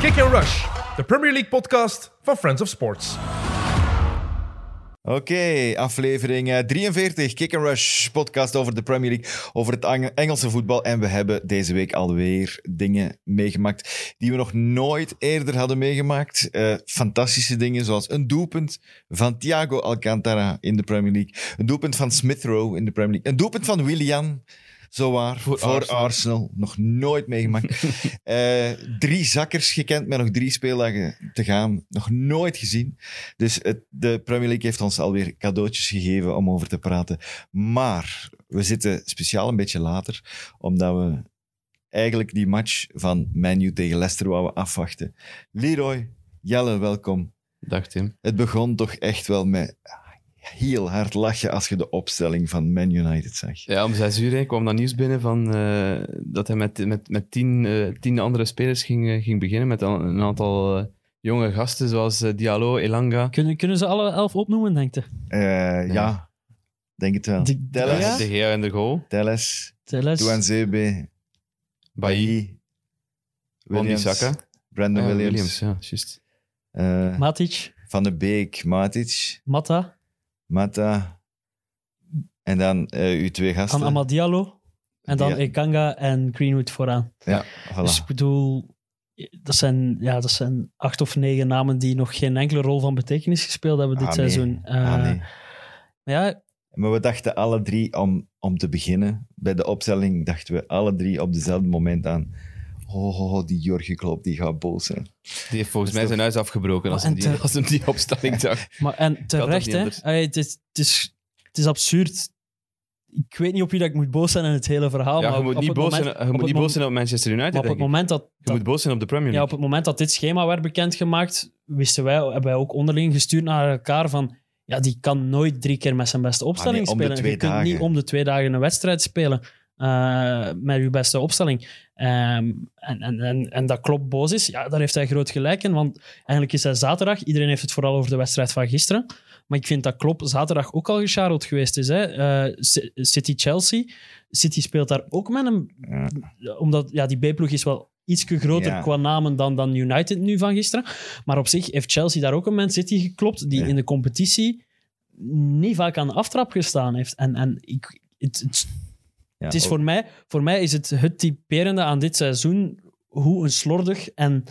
Kick and Rush, de Premier League podcast van Friends of Sports. Oké, aflevering eh, 43, Kick and Rush, podcast over de Premier League, over het Ang- Engelse voetbal. En we hebben deze week alweer dingen meegemaakt die we nog nooit eerder hadden meegemaakt. Eh, fantastische dingen, zoals een doelpunt van Thiago Alcantara in de Premier League, een doelpunt van Smith Rowe in de Premier League, een doelpunt van Willian, zowaar, voor, Arsenal. Arsenal. nog nooit meegemaakt. Eh, drie zakkers gekend, met nog drie speeldagen te gaan, nog nooit gezien. Dus het, de Premier League heeft ons alweer cadeautjes gegeven om over te praten. Maar we zitten speciaal een beetje later, omdat we eigenlijk die match van Menu tegen Leicester wouden afwachten. Leroy, Jelle, welkom. Dag Tim. Het begon toch echt wel met heel hard lachen als je de opstelling van Man United zag. Eh, Ja, om zes uur hè, kwam dat nieuws binnen van, eh, dat hij met, met, met tien, eh, tien andere spelers ging, eh, ging beginnen. Met al- een aantal eh, jonge gasten zoals eh, Diallo, Elanga. Kunnen, kunnen ze alle elf opnoemen, denk je? Eh, Nee. Ja, denk het wel. Die- Telles, Ja? eh, Dus- De Gea in de goal. Telles, Teles, Douanzebe, Bailly, Wan Williams, Bissaka. Brandon Ja, Williams, ja, juist. eh, Matic, Van de Beek, Matic, Mata, Mata. En dan eh uw twee gasten. dan Amadiallo. En dan Ja. Ekanga en Greenwood vooraan. Ja, voilà. Dus ik bedoel, dat zijn, ja, dat zijn acht of negen namen die nog geen enkele rol van betekenis gespeeld hebben dit Ah, nee. seizoen. Eh, Ah, nee. maar Ja, Maar we dachten alle drie om, om te beginnen. Bij de opstelling dachten we alle drie op dezelfde moment aan. Oh, oh, oh, die Jorgen Klopp, die gaat boos zijn. Die heeft Dat volgens mij is zijn huis afgebroken als Maar hem Oh, en eh, die, te- als hem die opstelling zag. maar, en terecht, niet hè. anders. Ey, het, is, het, is, het is absurd. Ik weet niet op wie dat ik moet boos zijn in het hele verhaal. Ja, maar je op moet niet het boos moment- zijn- je op moet het niet mom- boos zijn op Manchester United, maar op denk het ik. moment dat, Je moet boos zijn op de Premier Ja, League. op het moment dat dit schema werd bekendgemaakt, wisten wij, hebben wij ook onderling gestuurd naar elkaar van ja, die kan nooit drie keer met zijn beste Ah, opstelling nee, om de spelen. twee Je kunt dagen. niet om de twee dagen een wedstrijd spelen eh, met je beste opstelling. Ehm, en, en, en, en dat klopt boos is, ja, daar heeft hij groot gelijk in, want eigenlijk is hij zaterdag, iedereen heeft het vooral over de wedstrijd van gisteren, maar ik vind dat Klopp zaterdag ook al gescharreld geweest is. Hè? Eh, C- City-Chelsea, City speelt daar ook met een Ja. omdat ja, die B-ploeg is wel iets groter Ja. qua namen dan, dan United nu van gisteren. Maar op zich heeft Chelsea daar ook een Man City geklopt die Ja. in de competitie niet vaak aan de aftrap gestaan heeft. En, en ik, het, het, Ja, het is ook- voor, mij, voor mij is het het typerende aan dit seizoen hoe een slordig en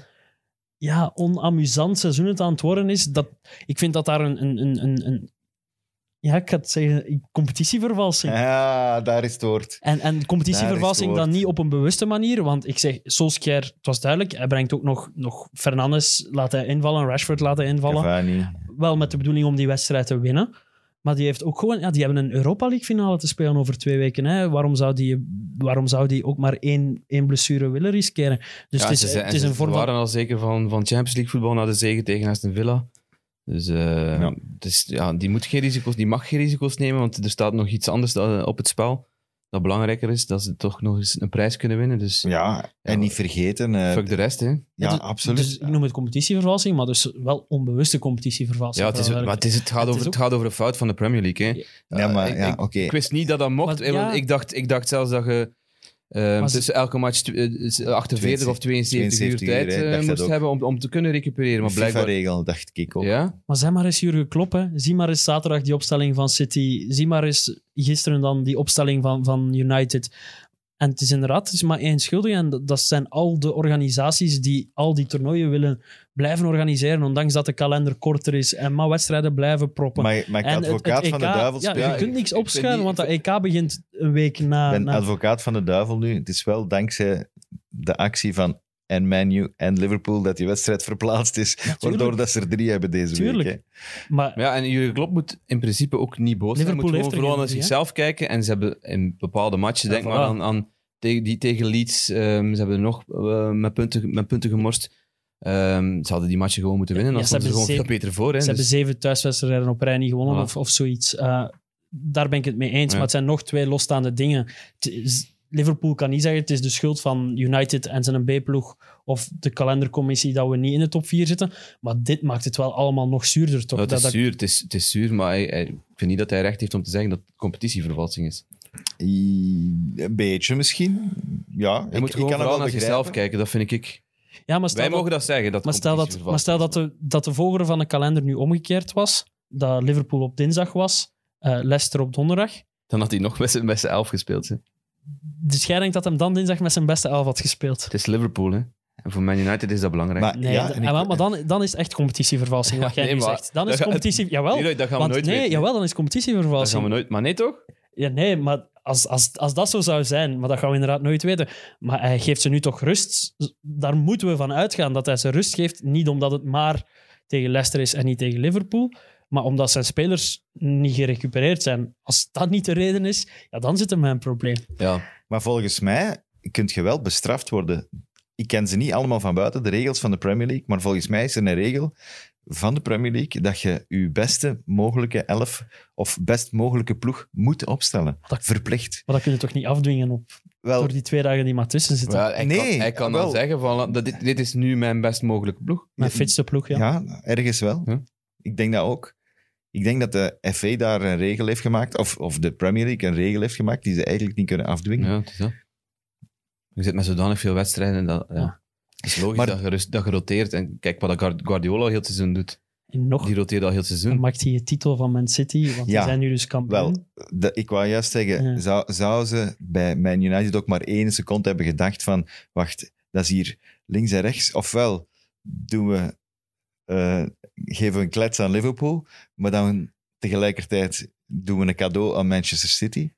ja, onamusant seizoen het aan het worden is. Dat, ik vind dat daar een... een, een, een, een- ja, ik ga het zeggen, competitievervalsing Ja, daar is het woord. en, en competitievervalsing Daar is het dan niet op een bewuste manier. Want ik zeg, Solskjaer, het was duidelijk, hij brengt ook nog, nog Fernandes laten invallen, Rashford laten invallen. Cavani. Wel met de bedoeling om die wedstrijd te winnen. Maar die, heeft ook gewoon, ja, die hebben een Europa League finale te spelen over twee weken. Hè. Waarom, zou die, waarom zou die ook maar één, één blessure willen riskeren? Dus Ja, het is, en ze, het is een vorm We van... waren al zeker van, van Champions League voetbal naar de zege tegen Aston Villa. Dus, eh, Ja. dus ja, die moet geen risico's, die mag geen risico's nemen, want er staat nog iets anders da- op het spel. Dat belangrijker is, dat ze toch nog eens een prijs kunnen winnen. Dus Ja, en niet vergeten. eh, fuck de rest, hè. ja, dus- absoluut. Dus ik noem het competitievervalsing, maar dus wel onbewuste competitievervalsing. Ja, het, is, maar het, is, het, gaat Het is over, het ook- gaat over een fout van de Premier League, hè. Eh, Ja. ja, maar, ik, ja, ik, oké. ik wist niet dat dat mocht. Maar eh, want ja. ik, dacht, ik dacht zelfs dat je eh, Maar ze- tussen elke match tw- eh, 48 of 72 uur 72 uur, tijd hè, ik eh, dacht dat moest ook. hebben om, om te kunnen recupereren. Maar blijkbaar... FIFA-regel, dacht ik ook. Ja? Maar zeg maar eens Jurgen Klopp, hè. zie maar eens zaterdag die opstelling van City, zie maar eens gisteren dan die opstelling van, van United. En het is inderdaad, het is maar één schuldige en dat, dat zijn al de organisaties die al die toernooien willen blijven organiseren, ondanks dat de kalender korter is en maar wedstrijden blijven proppen. Maar, maar ik en het- advocaat het van de EK duivel ja, spelen. Je kunt Ik niks vind opschuiven, die- want dat EK begint een week na... Ik ben na- advocaat van de duivel nu. Het is wel dankzij de actie van en Manu en Liverpool dat die wedstrijd verplaatst is. waardoor dat ze er drie hebben deze Tuurlijk. week. maar Maar ja, en Jurgen Klopp moet in principe ook niet boos zijn. Hij moet Liverpool gewoon heeft er vooral naar geen drie, zichzelf kijken. En ze hebben in bepaalde matchen, Ja, denk maar voilà. aan, aan tegen, die tegen Leeds, ehm, ze hebben nog eh, met, punten, met punten gemorst. Ehm, ze hadden die matchen gewoon moeten winnen. Ja, Dan ze stonden ze gewoon hebben veel beter voor. Hè, Ze hebben Dus- zeven thuiswedstrijden op rij niet gewonnen Voilà. of, of zoiets. Eh, daar ben ik het mee eens. Ja. Maar het zijn nog twee losstaande dingen. Het is- Liverpool kan niet zeggen het is de schuld van United en zijn B-ploeg of de kalendercommissie dat we niet in de top 4 zitten. Maar dit maakt het wel allemaal nog zuurder, toch? Ja, nou, het, Dat- is dat- zuur, het, is, het is zuur, maar hij- hij- ik vind niet dat hij recht heeft om te zeggen dat het competitievervalsing is. hè. I- Een beetje misschien. Ja, Hij moet ik, ik kan het gewoon wel vooral naar begrijpen. zichzelf kijken, dat vind ik. Ja, maar stel Wij dat- mogen dat zeggen. Dat de Maar stel, dat, competitie maar stel dat, vervalt. de, dat de volgorde van de kalender nu omgekeerd was. Dat Liverpool op dinsdag was, eh Leicester op donderdag. Dan had hij nog met zijn beste elf gespeeld. Hè. Dus jij denkt dat hem dan dinsdag met zijn beste elf had gespeeld? Het is Liverpool, hè. En voor Man United is dat belangrijk. Maar, Nee, ja, d- en ik- ah, wel, maar dan, dan is het echt competitievervalsing wat Ja, jij nee, nu maar- zegt. Dan dat is ga- competitie... Jawel, Jullie, dat gaan we want, nooit nee, weten. jawel, dan is dat gaan we competitievervalsing. nooit... Maar nee, toch? Ja, nee, maar als, als, als dat zo zou zijn, maar dat gaan we inderdaad nooit weten. Maar hij geeft ze nu toch rust. Daar moeten we van uitgaan dat hij ze rust geeft. Niet omdat het maar tegen Leicester is en niet tegen Liverpool, maar omdat zijn spelers niet gerecupereerd zijn. Als dat niet de reden is, ja, dan zit er mijn probleem. Ja. Maar volgens mij kunt je wel bestraft worden. Ik ken ze niet allemaal van buiten, de regels van de Premier League. Maar volgens mij is er een regel van de Premier League dat je je beste mogelijke elf of best mogelijke ploeg moet opstellen. Dat- Verplicht. Maar dat kun je toch niet afdwingen op, Wel, door die twee dagen die maar tussen zitten. Wel, hij Nee, kan, hij kan wel. dan zeggen van... Dat dit, dit is nu mijn best mogelijke ploeg. Mijn fitste ploeg, ja. ja. ergens wel. Ja. Ik denk dat ook. Ik denk dat de FA daar een regel heeft gemaakt, of, of de Premier League een regel heeft gemaakt, die ze eigenlijk niet kunnen afdwingen. Ja, het is dat. Je zit met zodanig veel wedstrijden. Dat, ja. Ja. Het is logisch Maar- dat, je rust- dat je roteert. En kijk wat dat Guardiola heel het seizoen doet. En nog Die roteert al heel het dan seizoen. maakt hij het titel van Man City, want Hm. Ja, die zijn nu dus kampioen. wel. De- ik wou juist zeggen, Ja. zou, zou ze bij Man United ook maar één seconde hebben gedacht van, wacht, dat is hier links en rechts. Ofwel doen we, eh, geven we een klets aan Liverpool, maar dan tegelijkertijd doen we een cadeau aan Manchester City.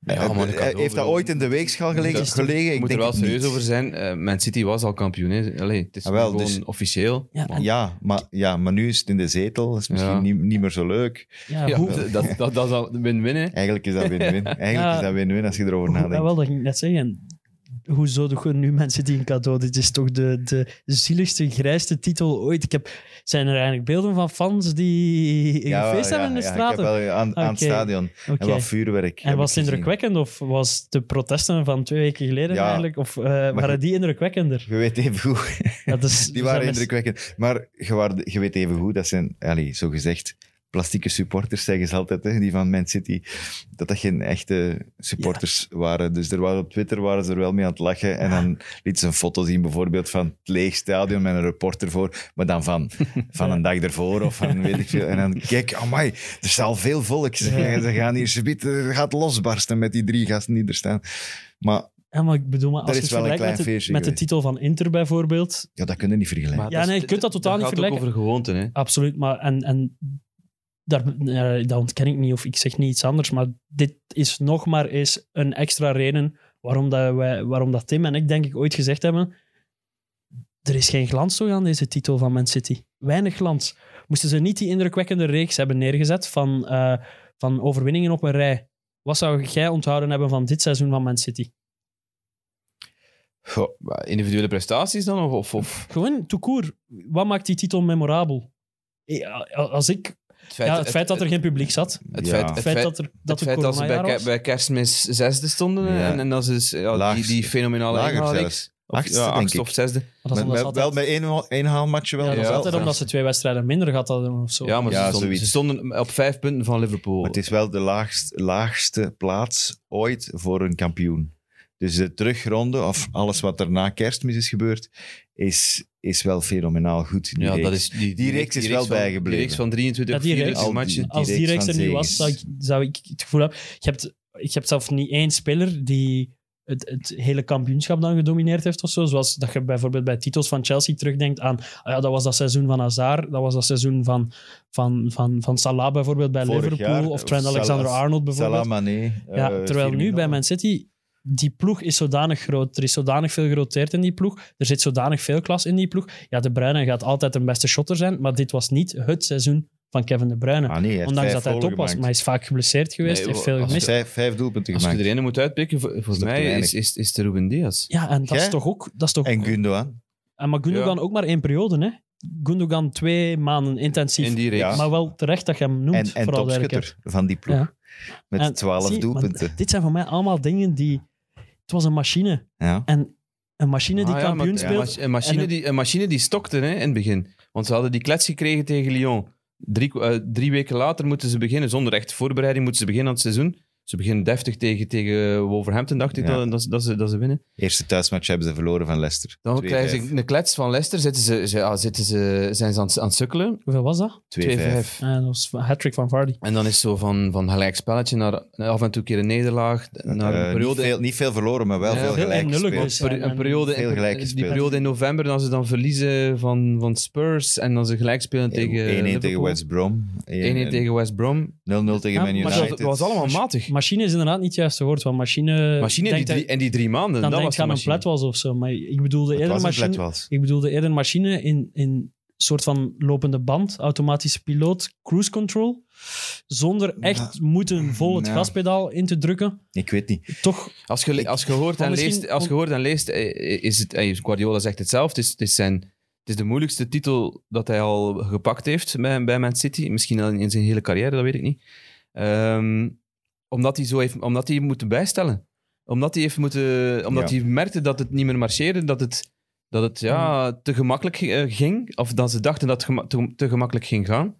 Ja, Eh, maar een eh, cadeau Heeft dat bedoel- ooit in de weegschaal Dat gelegen? is toch- gelegen? Je Ik moet er denk wel het serieus niet. over zijn. Eh, Man City was al kampioen. hè. Allee, het is Ah, wel, nu gewoon dus- officieel. Ja, Maar- en- Ja maar, ja, maar nu is het in de zetel. Dat is misschien Ja. niet, niet meer zo leuk. Ja, Ja, hoe, dat, dat, dat is al win-win, hè. Eigenlijk is dat win-win. Eigenlijk Ja. is dat win-win als je erover Hoe- nadenkt. Jawel, dat ging ik net zeggen. Hoezo doen we nu mensen die een cadeau? Dit is toch de, de zieligste, grijste titel ooit. Ik heb, zijn er eigenlijk beelden van fans die een Ja, feest ja, hebben in de ja, straten? Ik heb wel aan, aan het Oké. stadion. Oké. En wat vuurwerk. En heb was ik gezien. het indrukwekkend of was de protesten van twee weken geleden Ja, eigenlijk? Of eh, je- waren die indrukwekkender? Je weet even goed. Dat is, Die zijn waren best- indrukwekkend. Maar je, waarde- je weet even goed, dat zijn, allee, zo gezegd, plastieke supporters, zeggen ze altijd, hè, die van Man City, dat dat geen echte supporters waren. Dus er waren, op Twitter waren ze er wel mee aan het lachen. En dan liet ze een foto zien, bijvoorbeeld van het leeg stadion met een reporter voor, maar dan van, van een dag ervoor of van weet ik veel. En dan, kijk, amai, er zal veel volk. Ze, Ja. ze gaan hier, subiet, er gaat losbarsten met die drie gasten die er staan. Maar Ja, maar ik bedoel, maar als Er je is het wel een vergelijkt met, klein de- feestje met de geweest. titel van Inter bijvoorbeeld, ja, dat kunnen we niet vergelijken. Maar Ja, dat is- nee, je kunt dat totaal dat niet gaat ook vergelijken. over gewoonten, hè. Absoluut, maar en, en daar, eh, dat ontken ik niet of ik zeg niet iets anders, maar dit is nog maar eens een extra reden waarom, dat wij, waarom dat Tim en ik denk ik ooit gezegd hebben er is geen glans toch aan deze titel van Man City. Weinig glans. Moesten ze niet die indrukwekkende reeks hebben neergezet van, eh, van overwinningen op een rij, wat zou jij onthouden hebben van dit seizoen van Man City? Goh, maar individuele prestaties dan? Of, of, of Gewoon, tout court, wat maakt die titel memorabel? Ja, als ik, het ja, het feit dat er geen publiek zat. het Ja. feit- Het het feit feit- dat, er, dat het het feit dat ze bij, coronajaar ke- was. bij kerstmis zesde stonden Ja. en, en dat ze dus, ja, die, Laagste. die fenomenale Lager inhaalreeks. zelfs. Of, Achtste, ja, denk achtste ik. of zesde. Maar dat is Met- omdat met- ze wel altijd- met één, haal- één haalmatje ja, wel. dat is ja. altijd omdat ze twee wedstrijden minder gehad hadden of zo. Ja, maar Ja, ze, stonden, zoiets. ze stonden op vijf punten van Liverpool. Maar het is wel de laagst, laagste plaats ooit voor een kampioen. Dus de terugronde, of alles wat er na kerstmis is gebeurd, is, is wel fenomenaal goed. die ja, dat reeks. is, die, Die reeks is wel van- bijgebleven. Die reeks van 23, Ja, die reeks. 24 matchen. Als die reeks reeks er van niet was, zou zegens. ik, zou ik het gevoel hebben... Je hebt, je hebt zelf niet één speler die het, het hele kampioenschap dan gedomineerd heeft of zo. Zoals dat je bijvoorbeeld bij titels van Chelsea terugdenkt aan... ah ja, dat was dat seizoen van Hazard, dat was dat seizoen van, van, van, van Salah bijvoorbeeld bij Vorig Liverpool. jaar, of eh, Trent Salah- Alexander-Arnold bijvoorbeeld. Salah Mané. Ja, eh, terwijl nu Firmino. bij Man City, die ploeg is zodanig groot. Er is zodanig veel geroteerd in die ploeg. Er zit zodanig veel klas in die ploeg. Ja, De Bruyne gaat altijd een beste shotter zijn, maar dit was niet het seizoen van Kevin De Bruyne. Ah, nee, hij heeft Ondanks vijf dat hij goalen top was, maar gemaakt. oh, hij is vaak geblesseerd geweest, Nee, heeft veel als Hij heeft gemist. vijf, vijf doelpunten Als je gemaakt. er een moet uitpikken, vo- is volgens nog te mij weinig. is, is, is de Ruben Diaz. Ja, en dat Jij- is toch ook... Dat is toch En Gundogan. en maar Gundogan ook maar één periode, hè. Gundogan twee maanden intensief. In die reeks. Ja. Maar wel terecht dat je hem noemt, En, en vooral dergelijke. topschutter van die ploeg. Ja. En Met twaalf zie, maar doelpunten. Dit zijn voor mij allemaal dingen die... Het was een machine. Ja. En een machine die Ah, ja, maar- kampioen ja, speelt... maar- Een machine, en eh, een- die, een machine die stokte hè, in het begin. Want ze hadden die klets gekregen tegen Lyon. Drie, eh, drie weken later moeten ze beginnen, zonder echt voorbereiding, moeten ze beginnen aan het seizoen. Ze beginnen deftig tegen, tegen Wolverhampton, dacht ik, Ja. dat, dat, ze- dat, ze, dat ze winnen. Eerste thuismatch hebben ze verloren van Leicester. Dan 2-5. krijgen ze een klets van Leicester. Zitten ze, ze- ah, zitten ze, zijn ze aan, het- aan het sukkelen. Hoeveel was dat? 2-5. 2-5. Eh, dat was een hat-trick van Vardy. En dan is zo van, van gelijk spelletje naar af en toe een keer een nederlaag. Naar Eh, een niet, periode veel, niet veel verloren, maar wel Ja, veel veel gelijk en nullen gespeeld. dus. Per- een periode, Veel een- gelijk die gespeeld. periode in november, dan ze dan verliezen van, van Spurs en dan ze gelijk spelen tegen 1-1 tegen Liverpool. West Brom. 1-1 tegen West 0-0 Brom. tegen Ja, Man maar Maar United. dat was allemaal matig. Machine is inderdaad niet het juiste woord, want machine... Machine, die denkt drie, Eh, dat- en die drie maanden, dat Dan denk was je de aan een machine. plat was of zo, maar ik bedoelde Het eerder was een flat machine... was. Ik bedoelde eerder machine in, in soort van lopende band, automatische piloot, cruise control, zonder echt moeten vol het Ja. gaspedaal in te drukken. Ik weet niet. Toch, Als je, als je, hoort, Maar en misschien- leest, als je hoort en leest, eh, is het, eh, Guardiola zegt het zelf, het is, het is, zijn, het is de moeilijkste titel dat hij al gepakt heeft bij, bij Man City. Misschien al in zijn hele carrière, dat weet ik niet. Ehm, omdat hij zo heeft, omdat hij moet bijstellen. Omdat hij heeft moeten, omdat Ja. hij merkte dat het niet meer marcheerde, dat het, dat het ja, Mm. te gemakkelijk eh, ging. Of dat ze dachten dat het gema- te, te gemakkelijk ging gaan.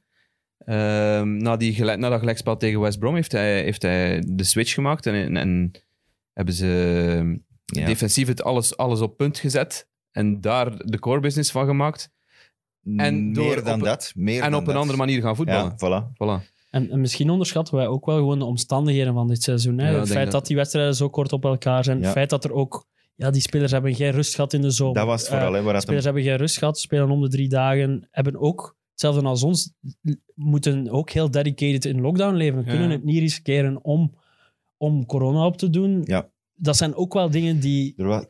Ehm, na, die gelijk, na dat gelijkspel tegen West Brom heeft hij, heeft hij de switch gemaakt en, en, en hebben ze ehm, Ja. defensief het alles, alles op punt gezet en daar de core business van gemaakt en door meer dan op- dat. Meer en dan op een dat. andere manier gaan voetballen. Ja, voilà. Voilà. en, en misschien onderschatten wij ook wel gewoon de omstandigheden van dit seizoen. Hè? Ja, ik het denk feit dat... dat- die wedstrijden zo kort op elkaar zijn, Ja. het feit dat er ook... Ja, die spelers hebben geen rust gehad in de zomer. Dat was het Eh, vooral, hè, waar het Spelers hebben geen rust gehad, spelen om de drie dagen, hebben ook, hetzelfde als ons, l- moeten ook heel dedicated in lockdown leven. Ja. Kunnen het niet riskeren om, om corona op te doen. Ja. Dat zijn ook wel dingen die... Er, wa-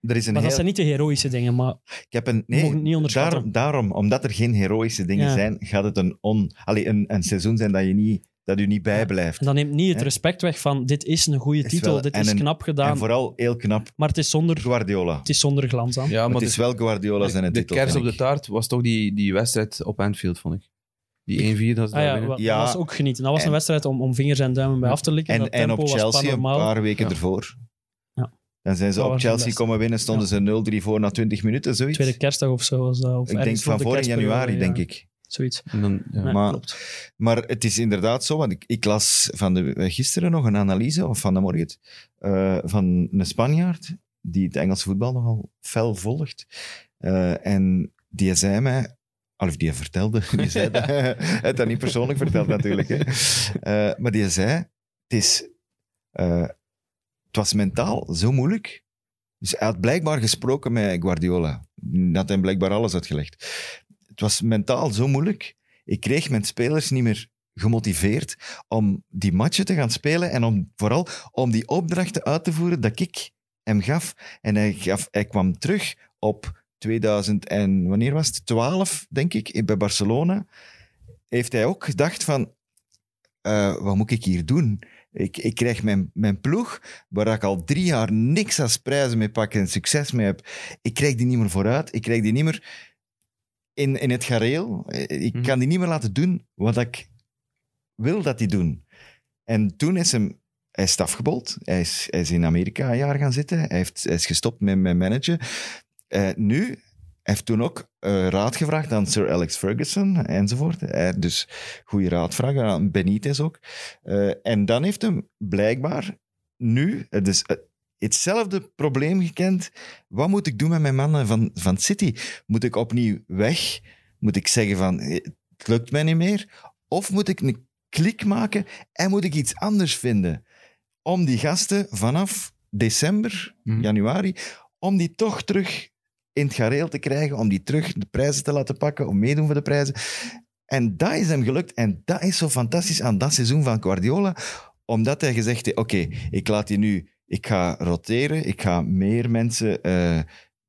er is een Maar dat heel... zijn niet de heroïsche dingen, maar Ik heb een... mogen Nee, het niet onderschatten. daarom, daarom, omdat er geen heroïsche dingen Ja. zijn, gaat het een, on... Allee, een, een seizoen zijn dat je niet, dat u niet bijblijft. en dat neemt niet het Ja. respect weg van dit is een goede Is titel, wel- dit en is een- knap gedaan, En vooral heel knap maar het is, zonder, Guardiola. het is zonder glans aan. Ja, dus Maar het is wel Guardiola zijn de, de titel. kers op vind de ik. taart was toch die, die wedstrijd op Anfield, vond ik. Die 1-4, dat is Ah daar ja, winnen. wa- Ja. dat was ook genieten. Dat was En- een wedstrijd om, om vingers en duimen bij af te likken. En, dat en tempo op was Chelsea een panormaal. paar weken Ja. ervoor. Ja. Dan zijn ze Dat op was de Chelsea beste. komen winnen, stonden ze 0-3 voor na 20 minuten, zoiets. Tweede kerstdag of zo. Was dat, of ik denk ergens van voor de vorig kerstperiode, januari, ja. denk ik. Zoiets. En dan, ja. Ja, Maar- klopt. Maar het is inderdaad zo, want ik, ik las van de, eh, gisteren nog een analyse, of van de morgen, eh, van een Spanjaard die het Engelse voetbal nogal fel volgt. Eh, en die zei mij, of die vertelde, die zei dat, hij had dat niet persoonlijk verteld natuurlijk, hè. Eh, maar die zei, het is, eh, het was mentaal zo moeilijk. Dus hij had blijkbaar gesproken met Guardiola. Dat had hem blijkbaar alles uitgelegd. Het was mentaal zo moeilijk. Ik kreeg mijn spelers niet meer gemotiveerd om die matchen te gaan spelen en om, vooral om die opdrachten uit te voeren dat ik hem gaf. En hij, gaf, hij kwam terug op 2000 en wanneer was het? 12, denk ik, bij Barcelona. Heeft hij ook gedacht van, eh, wat moet ik hier doen? Ik, ik krijg mijn, mijn ploeg, waar ik al drie jaar niks als prijzen mee pak en succes mee heb. Ik krijg die niet meer vooruit. Ik krijg die niet meer in, in het gareel. Eh, Ik Mhm. kan die niet meer laten doen wat ik wil dat die doen. En toen is hem... Hij is afgebold. Hij is, hij is in Amerika een jaar gaan zitten. Hij, heeft, hij is gestopt met mijn manager. Eh, nu, hij heeft toen ook eh, raad gevraagd aan Sir Alex Ferguson enzovoort. Eh, dus goede raad vragen aan Benitez ook. Eh, en dan heeft hem blijkbaar nu eh, dus, eh, hetzelfde probleem gekend. Wat moet ik doen met mijn mannen van, van City? Moet ik opnieuw weg? Moet ik zeggen van, eh, het lukt mij niet meer? Of moet ik een klik maken en moet ik iets anders vinden? Om die gasten vanaf december, Mhm. januari, om die toch terug in het gareel te krijgen, om die terug de prijzen te laten pakken, om meedoen voor de prijzen. En dat is hem gelukt. En dat is zo fantastisch aan dat seizoen van Guardiola. Omdat hij gezegd heeft, oké, ik laat die nu... Ik ga roteren, ik ga meer mensen... eh,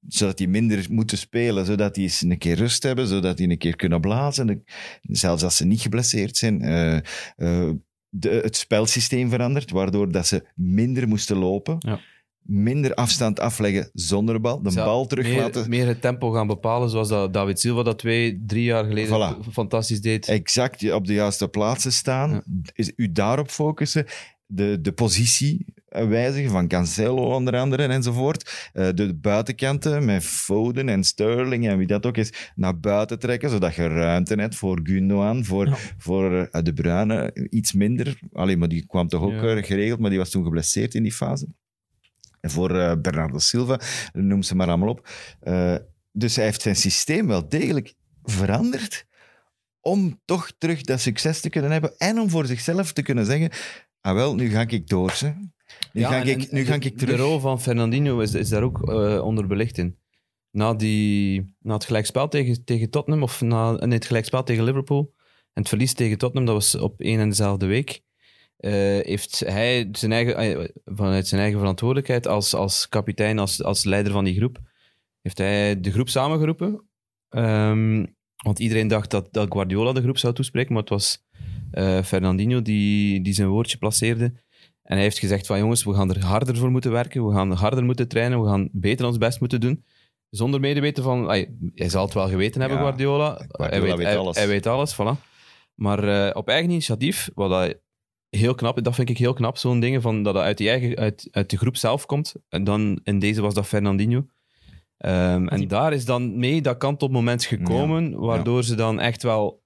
zodat die minder moeten spelen, zodat die eens een keer rust hebben, zodat die een keer kunnen blazen. Zelfs als ze niet geblesseerd zijn. eh, eh, de, het spelsysteem verandert, waardoor dat ze minder moesten lopen. Ja. Minder afstand afleggen zonder bal. De Zou bal terug meer, laten. meer het tempo gaan bepalen, zoals dat David Silva dat twee, drie jaar geleden Voilà. fantastisch deed. Exact je op de juiste plaatsen staan. Ja. Is, u daarop focussen. De, de positie eh, wijzigen, van Cancelo onder andere enzovoort. Eh, de buitenkanten met Foden en Sterling en wie dat ook is, naar buiten trekken, zodat je ruimte hebt voor Gundogan, voor, Ja. voor eh, De Bruyne. Iets minder, Allee, maar die kwam toch ook Ja. eh, geregeld, maar die was toen geblesseerd in die fase. En voor eh, Bernardo Silva, noem ze maar allemaal op. Eh, dus hij heeft zijn systeem wel degelijk veranderd om toch terug dat succes te kunnen hebben en om voor zichzelf te kunnen zeggen, ah wel, nu ga ik door. Hè. Nu, Ja, ga, en- ik, en nu de- ga ik De terug. rol van Fernandinho is, is daar ook eh, onder belicht in. Na, die, na het gelijkspel tegen, tegen Tottenham, of na nee, het gelijkspel tegen Liverpool en het verlies tegen Tottenham, dat was op één en dezelfde week, eh, heeft hij zijn eigen, eh, vanuit zijn eigen verantwoordelijkheid als, als kapitein, als, als leider van die groep, heeft hij de groep samengeroepen. Ehm, want iedereen dacht dat, dat Guardiola de groep zou toespreken, maar het was eh, Fernandinho die, die zijn woordje placeerde. En hij heeft gezegd van jongens, we gaan er harder voor moeten werken, we gaan harder moeten trainen, we gaan beter ons best moeten doen. Zonder medeweten van, ai, hij zal het wel geweten hebben, Ja, Guardiola. Guardiola hij weet, weet hij- alles. Hij, weet alles, voilà. Maar eh, op eigen initiatief, wat hij heel knap, dat vind ik heel knap, zo'n dingen, van dat dat uit, die eigen, uit, uit de groep zelf komt. En dan, in deze was dat Fernandinho. Ehm, en Die- daar is dan mee dat kantelmoment gekomen, waardoor ze dan echt wel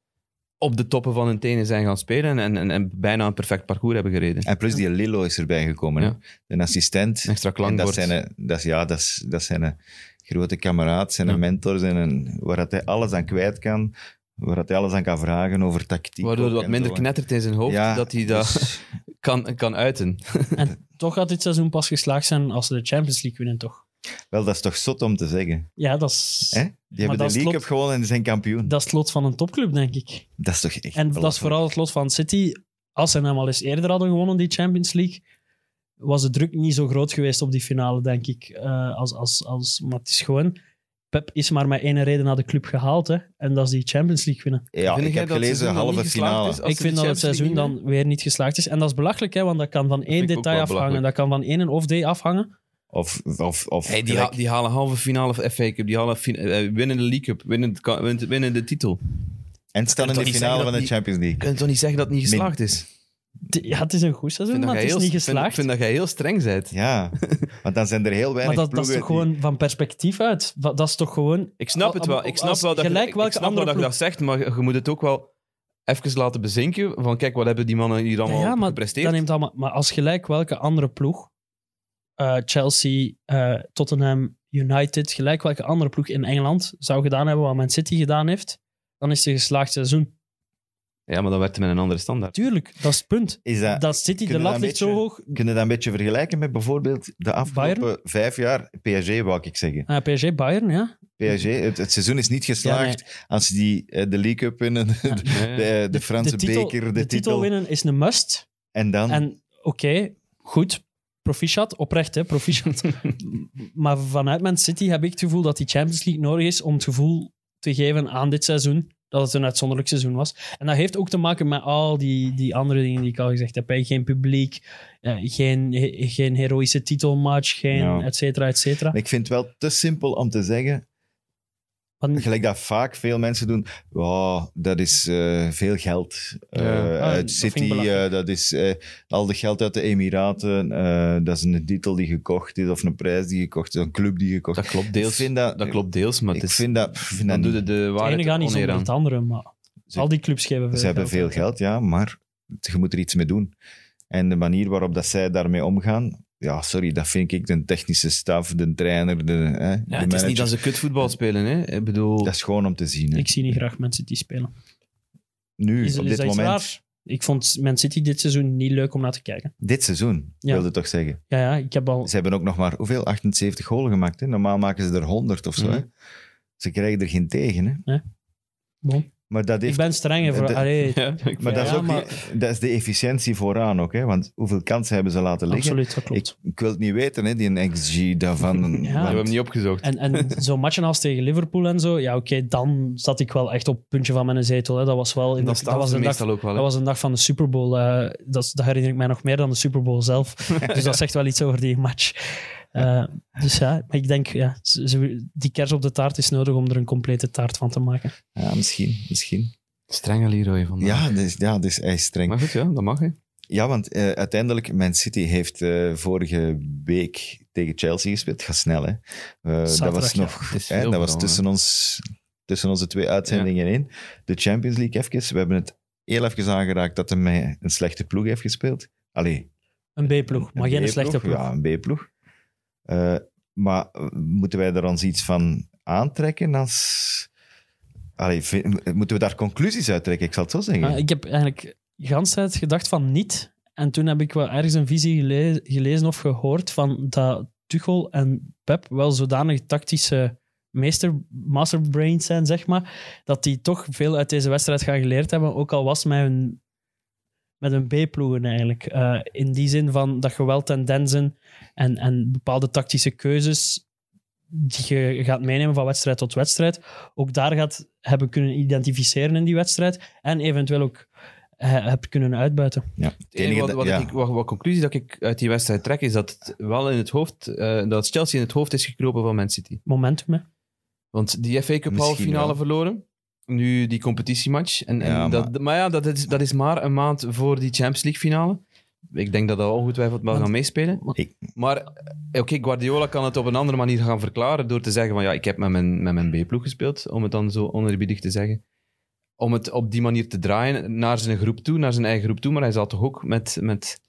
op de toppen van hun tenen zijn gaan spelen en, en, en bijna een perfect parcours hebben gereden. En plus die Lilo is erbij gekomen. hè. Ja. Een assistent. Een Extra En dat klankbord. zijn, eh, een- dat, is- ja, dat, is, dat zijn een grote kameraad, zijn een Ja. mentors en een, waar dat hij alles aan kwijt kan, waar dat hij alles aan kan vragen over tactiek. Waardoor ook het wat en minder zo. knettert in zijn hoofd, Ja, dat hij dat dus- kan, kan uiten. Toch gaat dit seizoen pas geslaagd zijn als ze de Champions League winnen, toch? wel, dat is toch zot om te zeggen. Ja, dat is, Hè? Die hebben dat de is League lot- Cup gewonnen en zijn kampioen. Dat, dat is het lot van een topclub, denk ik. is toch echt En dat is vooral het lot van City. Als ze hem al eens eerder hadden gewonnen, die Champions League, was de druk niet zo groot geweest op die finale, denk ik. eh, als, als, als, maar het is gewoon... Pep is maar met één reden naar de club gehaald, hè. En dat is die Champions League winnen. Ja, Vind ik jij heb dat het gelezen, seizoen nog halve niet geslaagd finale. is? Als ik ze vind de dat het Champions League seizoen niet dan weer niet geslaagd is. En dat is belachelijk, hè, want dat kan van één vind ik ook detail wel afhangen. Dat belachelijk. kan van één of twee afhangen. Of, of, of Hey, die, gelijk- ha- die halen halve finale FA Cup, die halen fin- eh, winnen de League Cup, winnen, het ka- winnen- winnen de titel. Je en staan in Kan de toch niet finale zeggen van dat de die- Champions League. kunt toch niet zeggen dat het niet Min- geslaagd is? Ik Het- Ja, het is een goed seizoen, vind dat maar jij het is heel- niet vind- geslaagd. vind dat jij heel streng bent. Ja, want dan zijn er heel maar weinig dat, dat is toch ploegen die- gewoon van perspectief uit? Va- Dat is toch gewoon... Ik snap het wel. Ik snap wel dat, je- gelijk ik welke snap wel andere dat je dat zegt, maar je moet het ook wel even laten bezinken. Van kijk, wat hebben die mannen hier allemaal Ja, maar gepresteerd? Dat neemt allemaal, maar als gelijk welke andere ploeg, eh, Chelsea, eh, Tottenham, United, gelijk welke andere ploeg in Engeland zou gedaan hebben wat Man City gedaan heeft, dan is het een geslaagd seizoen. Ja, maar dan werd hij met een andere standaard. Tuurlijk, dat is het punt. Is dat, dat City, de kunnen lat dat ligt zo beetje- hoog. Kun je dat een beetje vergelijken met bijvoorbeeld de afgelopen Bayern? vijf jaar PSG, wou ik zeggen. Ah, PSG, Bayern, ja. PSG, het, het seizoen is niet geslaagd als ze die, eh, de League Cup winnen, de, Nee. de, Franse titel- beker, de, de titel. winnen is een must. en dan, En oké, goed. Proficiat, oprecht hè, proficiat. M- maar vanuit Man City heb ik het gevoel dat die Champions League nodig is om het gevoel te geven aan dit seizoen dat het een uitzonderlijk seizoen was. En dat heeft ook te maken met al die, die andere dingen die ik al gezegd heb. hè. Geen publiek, eh, geen, he- geen heroïsche titelmatch, geen Ja. et cetera, et cetera. ik vind het wel te simpel om te zeggen, Want- gelijk dat vaak veel mensen doen, wow, dat is eh, veel geld eh, Ja. Ah, uit dat vind ik City, belachelijk. eh, dat is eh, al de geld uit de Emiraten, eh, dat is een titel die gekocht is, of een prijs die gekocht is, een club die gekocht is. Dat klopt Ik deels. vind dat, Dat klopt deels, maar ik het is, vind dat, vind dat dan doe niet. je de Het ene waarheid gaat niet oneer zonder aan. het andere, maar Ze- al die clubs geven veel Ze hebben veel uit, hè. geld, ja, maar je moet er iets mee doen. En de manier waarop dat zij daarmee omgaan, ja, sorry, dat vind ik de technische staf, de trainer, de, hè, de Ja, het is manager. niet dat ze kutvoetbal spelen, hè. Ik bedoel... Dat is gewoon om te zien. hè. Ik zie niet graag Man City spelen. nu, Is, op is dit dat iets moment, raar? Ik vond Man City dit seizoen niet leuk om naar te kijken. dit seizoen, Ja. wilde toch zeggen. Ja, ja ik heb al Ze hebben ook nog maar, hoeveel? 78 golen gemaakt. Hè? Normaal maken ze er 100 of zo. Mhm. Hè? Ze krijgen er geen tegen. Hè? Bon. Maar dat heeft Ik ben strenger voor. de- Allee, Ja, ik- maar dat, is Ja, ook maar- die- dat is de efficiëntie vooraan ook. Hè? Want hoeveel kansen hebben ze laten liggen? absoluut, dat klopt. Ik wil het niet weten, hè, die XG daarvan. Ja. we want- hebben hem niet opgezocht. En, en zo'n matchen als tegen Liverpool en zo, ja, oké, dan zat ik wel echt op het puntje van mijn zetel. Hè. Dat was wel. In dat de, dat, staat was ze een dag, dat meestal ook wel. hè. was een dag van de Super Bowl. eh, dat, is- dat herinner ik mij nog meer dan de Super Bowl zelf. dus dat zegt wel iets over die match. Eh, dus ja, maar ik denk, ja, ze- ze- die kers op de taart is nodig om er een complete taart van te maken. Ja, misschien, misschien. Strenge Leroy vandaag. Ja, dus, ja dus hij is streng. Maar goed, ja, dat mag, hè. Ja, want eh, uiteindelijk, Man City heeft eh, vorige week tegen Chelsea gespeeld. Het gaat snel, hè? Eh, dat Zaterdag, was ja. nog, Het is hè, veel dat was vooral, hè. tussen, ons, tussen onze twee uitzendingen in. De Champions League even. We hebben het heel even aangeraakt dat hij met een slechte ploeg heeft gespeeld. Allee, Een B-ploeg, een maar geen B-ploeg. slechte ploeg. Ja, een B-ploeg. Eh, maar eh, moeten wij daar ons iets van aantrekken als... Allee, vind- moeten we daar conclusies uit trekken? Ik zal het zo zeggen. Maar Ah, ik heb eigenlijk de hele tijd gedacht van niet. En toen heb ik wel ergens een visie gele- gelezen of gehoord van dat Tuchel en Pep wel zodanig tactische meester, masterbrains zijn, zeg maar, dat die toch veel uit deze wedstrijd gaan geleerd hebben, ook al was met hun, met hun B-ploegen eigenlijk. Eh, in die zin van dat je wel tendensen en, en bepaalde tactische keuzes die je gaat meenemen van wedstrijd tot wedstrijd, ook daar gaat hebben kunnen identificeren in die wedstrijd en eventueel ook eh, hebt kunnen uitbuiten. ja. Het Het enige dat- wat, wat, ja. ik, wat, wat conclusie dat ik uit die wedstrijd trek, is dat het wel in het hoofd, eh, dat Chelsea in het hoofd is gekropen van Man City. Momentum, hè. Want die FA Cup Misschien halve finale wel. verloren. Nu die competitiematch. En, en Ja, dat, maar ja, dat is, dat is maar een maand voor die Champions League finale. Ik denk dat dat ongetwijfeld wel Want- gaan meespelen. Ik- Maar eh, oké, Guardiola kan het op een andere manier gaan verklaren door te zeggen van ja, ik heb met mijn, met mijn B-ploeg gespeeld, om het dan zo onerbiedig te zeggen. Om het op die manier te draaien naar zijn groep toe, naar zijn eigen groep toe. Maar hij zal toch ook met, met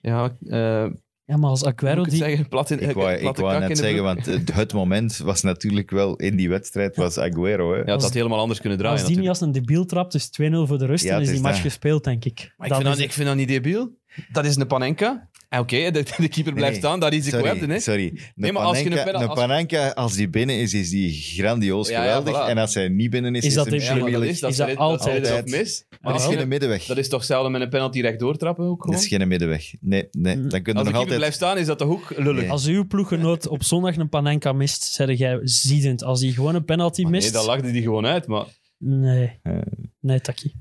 ja, eh hoe Ja, maar als moet Aguero ik het die... zeggen, plat in Ik wou, platte ik wou kak in net de zeggen, broek. want het, het moment was natuurlijk wel in die wedstrijd, was Aguero. Hè? Ja, het had helemaal anders kunnen draaien Als die niet natuurlijk. als een debiel trapt, dus 2-0 voor de rust, Ja, dan het is is die match dat. gespeeld, denk ik. Maar ik, Dan vind dat, is- ik vind dat niet debiel. Dat is een panenka. En Oké, de, de keeper blijft Nee, staan, dat risico heb je. Sorry, hè. sorry. Een Nee, maar als je Panenka, een als, penal- als- Panenka, als die binnen is, is die grandioos Ja, ja, geweldig. voilà. En als hij niet binnen is, Is is, dat het een Ja, maar dat grimmelig. is, dat Is is, dat dat altijd? Altijd. Is mis. Er Maar is dat, geen middenweg. dat is toch zelden met een penalty rechtdoor trappen ook Er gewoon? is geen middenweg. Nee, Hmm. nee. Dan kunnen als Nou, de we nog keeper altijd... blijft staan, is dat de hoek lullig. Nee. Als uw ploeggenoot op zondag een panenka mist, zeg jij ziedend. Als hij gewoon een penalty Maar Nee, mist... dan lachte die gewoon uit. Maar Nee, Eh. nee, takkie.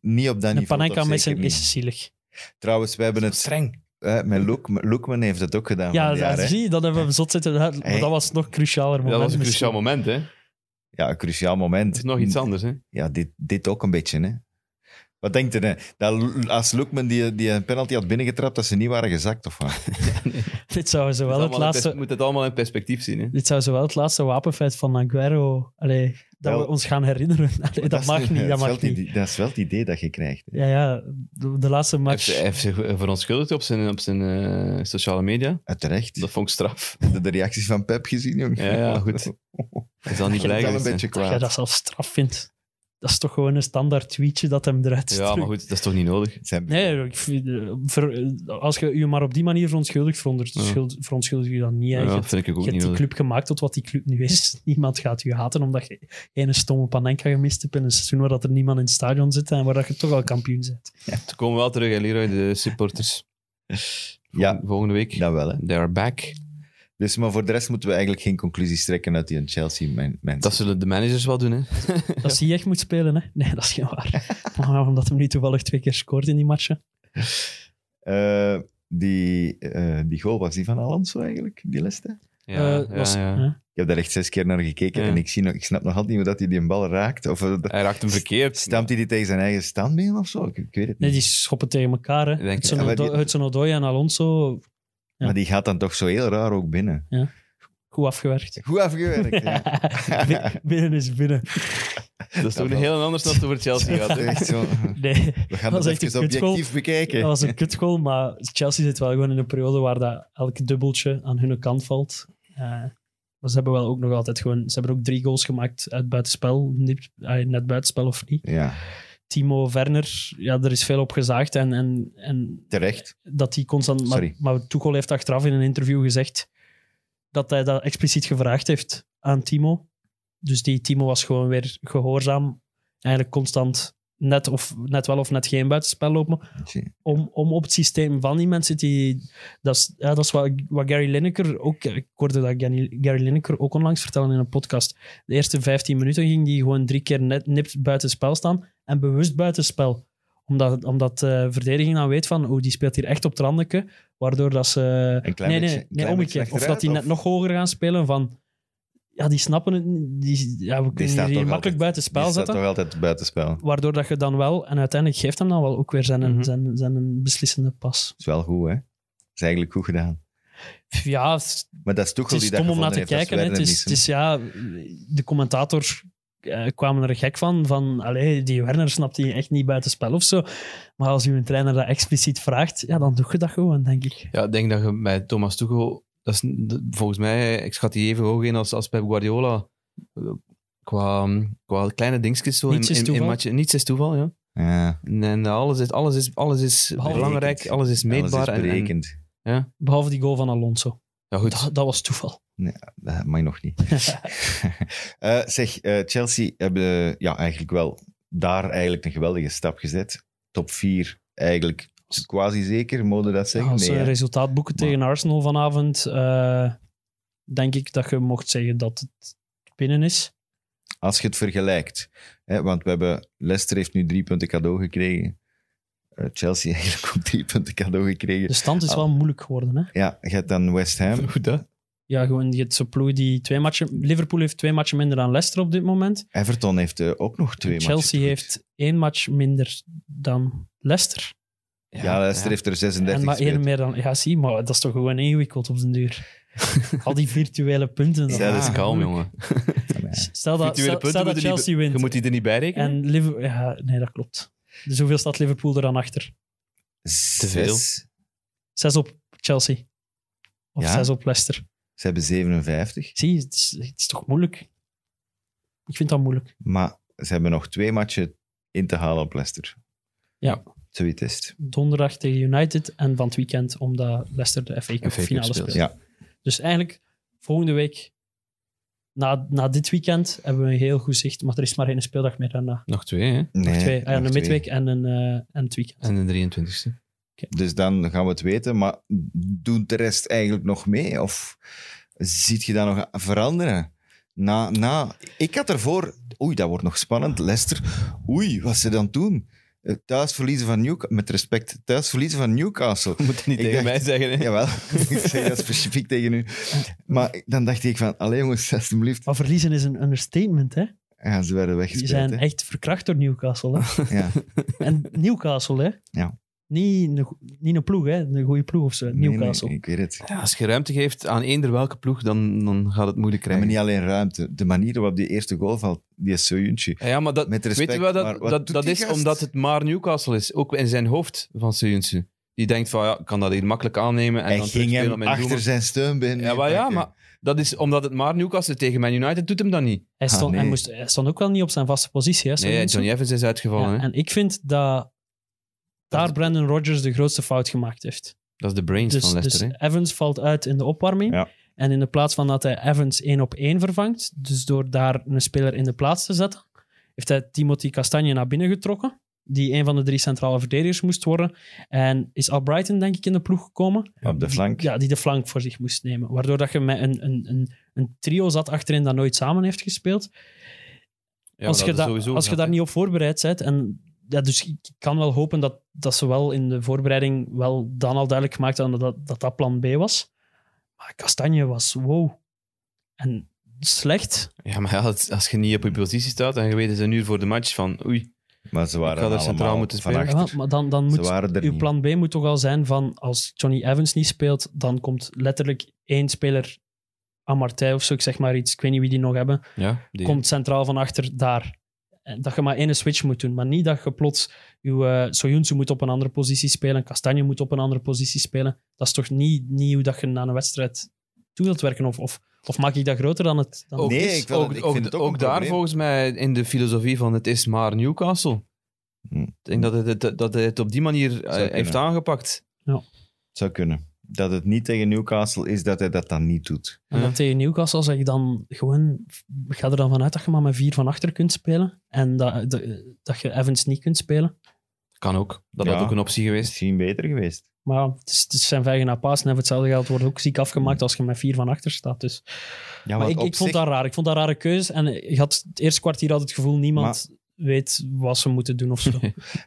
Niet op dat Een niveau. panenka toch missen zeker niet. is zielig. Trouwens, we hebben het... streng. Hè, met Loekman, Loekman heeft het ook gedaan Ja, van dat het jaar, hè. zie je, dat hebben we zot zitten. uit, Maar Hey. dat was nog een crucialer moment. Dat was een misschien. cruciaal moment, hè? Dat Ja, een cruciaal moment. is nog iets anders, hè? Ja, dit, dit ook een beetje, hè. Wat denkt u, hè? Dat, als Loekman die, die een penalty had binnengetrapt, dat ze niet waren gezakt, of wat? Dit zou zo wel Dat het allemaal in pers- laatste... moet het allemaal in perspectief zien, hè? Dit zou zo wel het laatste wapenfeit van Aguero. Allee, dat Wel- we ons gaan herinneren. Allee, dat, is- mag niet. Dat is wel mag het niet. idee- dat is wel het idee dat je krijgt. hè. Ja, ja, de, de laatste Hij heeft- match. Hij heeft zich eh, verontschuldigd op zijn, op zijn eh, sociale media. En terecht. Dat vond ik straf. De, de reacties van Pep gezien, jong. Ja, ja, goed. Hij zal niet Ik ben blij wel geweest een zijn. beetje Dat jij kwaad. dat zelf straf vindt. Dat is toch gewoon een standaard tweetje dat hem eruit Ja, maar stuurt. goed, dat is toch niet nodig? Zijn- Nee, ik vind, eh, ver- als je je maar op die manier verontschuldigt, verontschuld- verontschuldig je dan niet. hè. Ja, je dat hebt, vind ik je ook hebt niet die nodig. club gemaakt tot wat die club nu is. Niemand gaat je haten omdat je ene stomme panenka gemist hebt in een seizoen waar dat er niemand in het stadion zit en waar dat je toch al kampioen bent. Ze komen wel terug, hè, Leroy, de supporters. Ja, Volgende week. dat wel. Hè. They are back. Dus, maar voor de rest moeten we eigenlijk geen conclusies trekken uit die Chelsea men- mensen. Dat zullen de managers wel doen, hè. Dat zie je echt moet spelen, hè? Nee, dat is geen waar. Maar omdat hem nu toevallig twee keer scoort in die matchen. Eh, die, eh, die goal was die van Alonso eigenlijk, die leste. Ja, Eh, was- ja, ja. ja. Ik heb daar echt zes keer naar gekeken Ja. en ik, zie nog, ik snap nog altijd niet hoe dat hij die bal raakt. Of eh, dat- Hij raakt hem verkeerd. stampt hij die tegen zijn eigen standbeen of zo? Ik, ik weet het Nee, niet. die schoppen tegen elkaar. Hè. Ik denk- Hudson ja, maar die- Odo- Hudson Odoi en Alonso, ja. Maar die gaat dan toch zo heel raar ook binnen. goed afgewerkt. Goed afgewerkt. ja. Bi- binnen is binnen. Dat is toch Ja, een heel anders dan het over Chelsea gaat, hè. Echt zo. Nee, We gaan Dat dat, is echt even een kutgoal. objectief dat bekijken. was een kutgoal, maar Chelsea zit wel gewoon in een periode waar dat elk dubbeltje aan hun kant valt. Eh, maar ze hebben wel ook nog altijd gewoon... Ze hebben ook drie goals gemaakt uit buitenspel. Niet, eh, net buitenspel of niet. Ja, Timo Werner, ja, er is veel op gezaagd. En, en, en terecht. dat hij constant... Maar, Sorry. maar Tuchel heeft achteraf in een interview gezegd dat hij dat expliciet gevraagd heeft aan Timo. Dus die Timo was gewoon weer gehoorzaam. Eigenlijk constant net, of, net wel of net geen buitenspel lopen. Om, om op het systeem van die mensen die... Dat is, ja, dat is wat, wat Gary Lineker ook... Ik hoorde dat Gary Gary Lineker ook onlangs vertellen in een podcast. De eerste 15 minuten ging die gewoon drie keer net nipt buitenspel staan. En bewust buitenspel. Omdat, omdat de verdediging dan weet van... Oh, die speelt hier echt op trandeke. Waardoor dat ze... Een klein Nee, nee, beetje- een klein nee, beetje omgekeerd. Of achteruit, dat die net of- nog hoger gaan spelen van... ja, die snappen het niet. Die, ja, we kunnen staat die, toch altijd- makkelijk buiten Die spel staat zetten. toch altijd buitenspel. Waardoor dat je dan wel, en uiteindelijk geeft hem dan wel ook weer zijn, Mhm. zijn, zijn beslissende pas. is wel goed, hè? is eigenlijk goed gedaan. Ja, het is- Maar dat is toch het is die dat stom om naar te gevonden heeft, kijken. dat hè. is Het is, Werner het is ja, de commentators eh, kwamen er gek van. Van allee, die Werner snapt die echt niet buiten spel of zo. Maar als uw trainer dat expliciet vraagt, ja, dan doe je dat gewoon, denk ik. Ja, ik denk dat je bij Thomas Tuchel... Dat is, dat- volgens mij, ik schat die even hoog in als, als Pep Guardiola. Qua, qua kleine dingetjes zo Niets in, is in, in toeval. matchen. Niets is toeval, ja. Missen. Ja, En, en alles is, alles is, alles is Behalve- belangrijk, Berekend. alles is meetbaar. alles en- is en, berekend. Behalve die goal van Alonso. ja, goed. Dat, dat was toeval. Dat mag nog niet. Eh, zeg, eh, Chelsea hebben eh, ja, eigenlijk wel daar eigenlijk een geweldige stap gezet. Top 4 eigenlijk quasi zeker, mogen we dat zeggen? Als ze nee, hè? resultaat boeken Maar- tegen Arsenal vanavond, eh, denk ik dat je mocht zeggen dat het binnen is. Als je het vergelijkt. Hè, want we hebben, Leicester heeft nu drie punten cadeau gekregen. Eh, Chelsea eigenlijk ook drie punten cadeau gekregen. De stand is wel moeilijk geworden. Hè? Ja, je hebt dan West Ham. Goed, hè? Ja, gewoon die, zo'n ploeg die twee matchen... Liverpool heeft twee matchen minder dan Leicester op dit moment. Everton heeft eh, ook nog twee matchen Chelsea goed. heeft één match minder dan Leicester. Ja, Leicester heeft er 36 En maar één gespeeld. meer dan... Ja, zie, maar dat is toch gewoon ingewikkeld op den duur. Al die virtuele Ja, punten. dan. Ja, dat is ja. Ah, kalm, jongen. Stel dat, Virtuele punten stel, stel dat moeten die- Chelsea Je wint. moet die er niet bij rekenen. En Liverpool... Ja, nee, dat klopt. Dus hoeveel staat Liverpool er dan achter? Zes. veel. Zes op Chelsea. Of Ja. zes op Leicester. Ze hebben 57. Zie, het is, het is toch moeilijk? Ik vind dat moeilijk. Maar ze hebben nog twee matchen in te halen op Leicester. Ja. Zoiets is het. Donderdag tegen United en van het weekend omdat Leicester de FA Cup FA Cup finale speelt. speelt. Ja. Dus eigenlijk volgende week, na, na dit weekend, hebben we een heel goed zicht. Maar er is maar één speeldag meer daarna. Nog twee, hè? Nee, Nog twee, Ah ja, nog een twee. midweek en, een, eh, en het weekend. En de 23ste. Dus dan gaan we het weten. Maar doet de rest eigenlijk nog mee? Of ziet je dat nog veranderen? Na, na, ik had ervoor... Oei, dat wordt nog spannend. Leicester. Oei, wat ze dan doen? Eh, Thuis verliezen van Newcastle. Met respect, thuis verliezen van Newcastle. Moet het niet Ik tegen dacht- mij zeggen, hè? Jawel, ik zeg dat specifiek tegen u. Maar dan dacht ik van, allee jongens, alsjeblieft. Maar verliezen is een understatement, hè? Ja, ze werden Die weggespeeld. zijn hè. echt verkracht door Newcastle. Hè? Ja. en Newcastle, hè? Ja. Niet een, go- niet een ploeg, hè? Een goede ploeg of zo. Nee, Newcastle. nee, ik weet het. Ja, als je ruimte geeft aan eender welke ploeg, dan, dan gaat het moeilijk Ja, krijgen. maar niet alleen ruimte. De manier waarop die eerste goal valt, die is zo juntje. Ah, Ja, ja, maar dat, Met respect, weet je wel, maar dat, wat dat, doet dat die is gast? omdat het maar Newcastle is. Ook in zijn hoofd van Seuntje. Die denkt van, ja, ik kan dat hier makkelijk aannemen. En Hij dan ging terugspelen op hem mijn achter doelman. zijn steunbeen. Ja, maar, ja, pakken. maar dat is omdat het maar Newcastle tegen Man United doet hem dat niet. Hij, Ah, stond, hij, nee. moest, hij stond ook wel niet op zijn vaste positie, Nee, hè? Southampton. Johnny Evans is uitgevallen. Ja, hè. en ik vind dat daar Brandon Rodgers de grootste fout gemaakt heeft. Dat is de brains Dus, van Leicester. dus hè. Evans valt uit in de opwarming. Ja. En in de plaats van dat hij Evans één op één vervangt, dus door daar een speler in de plaats te zetten, heeft hij Timothy Castagne naar binnen getrokken, die een van de drie centrale verdedigers moest worden. En is Albrighton, denk ik, in de ploeg gekomen. Op de flank. Ja, die de flank voor zich moest nemen. Waardoor dat je met een, een, een, een trio zat achterin dat nooit samen heeft gespeeld Ja, als dat je, is da- sowieso als je gaat, daar hè. niet op voorbereid bent. En, ja, dus ik ik kan wel hopen dat, dat ze wel in de voorbereiding wel dan al duidelijk gemaakt hadden dat dat, dat plan B was. Maar Kastanje was wow. En slecht. Ja, maar ja, als, als je niet op je positie staat en je weet het een uur voor de match van oei, Maar ze waren Ik had er allemaal centraal moeten van spelen. achter. Ja, maar dan, dan Ze moet waren er uw niet. plan B moet toch al zijn van als Johnny Evans niet speelt, dan komt letterlijk één speler, Amartey of zo, ik zeg maar iets, ik weet niet wie die nog hebben, ja, die- komt centraal van achter daar. En Dat je maar één switch moet doen. Maar niet dat je plots uw eh Soyuncu moet op een andere positie spelen. Kastanje moet op een andere positie spelen. Dat is toch niet, niet hoe dat je naar een wedstrijd toe wilt werken? Of, of, of maak ik dat groter dan het. Dan ook, Nee, is- ik wil- ook, ik ook, vind het ook ook een daar probleem. volgens mij in de filosofie van het is maar Newcastle. Hm. Ik denk dat hij het, dat hij het op die manier eh, kunnen. heeft aangepakt. Zou kunnen. Dat het niet tegen Newcastle is, dat hij dat dan niet doet. En dan Ja. tegen Newcastle zeg ik dan gewoon. Ga er dan vanuit dat je maar met vier van achter kunt spelen. En dat, dat, dat je Evans niet kunt spelen. Kan ook. Dat Ja. had ook een optie geweest. Misschien beter geweest. Maar ja, het, is, het is zijn vijgen na paas. En voor hetzelfde geld wordt ook ziek afgemaakt als je met vier van achter staat. Dus. Ja, Maar want ik, op ik vond zich- dat raar. Ik vond dat rare keuze. En ik had het eerste kwartier had het gevoel niemand weet wat ze moeten doen of zo.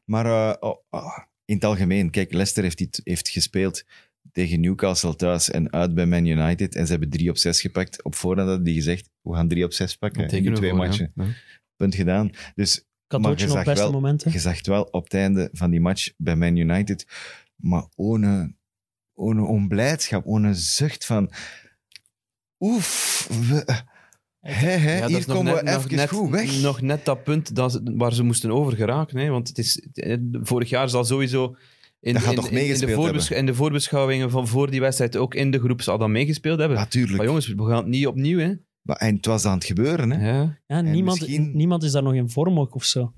Maar eh, oh, oh, in het algemeen, kijk, Leicester heeft, dit, heeft gespeeld tegen Newcastle thuis en uit bij Man United. En ze hebben 3 op 6 gepakt. Op voorhand hadden die gezegd, we gaan 3 op 6 pakken. in die Tekenen we twee voor, matchen. ja. Ja. Punt gedaan. Dus Cadeautje Maar op je zag beste wel- momenten. Je zag het wel op het einde van die match bij Man United. Maar ohne, ohne onblijdschap, ohne zucht van... Oef, we, hè, hè, Ja, dat hier is nog komen net- we nog even net- goed weg. Nog net dat punt dat, ze- waar ze moesten over geraken. Hè? Want het is, eh, vorig jaar zal sowieso... In, Dat gaat in- toch in- in, de meegespeeld voorbesch- in de voorbeschouwingen van voor die wedstrijd ook in de groep zal dat meegespeeld hebben. Natuurlijk. maar Maar jongens, we gaan het niet opnieuw, hè. en het was aan het gebeuren. Hè? Ja. Ja, En niemand, misschien- niemand is daar nog in vorm ook of zo.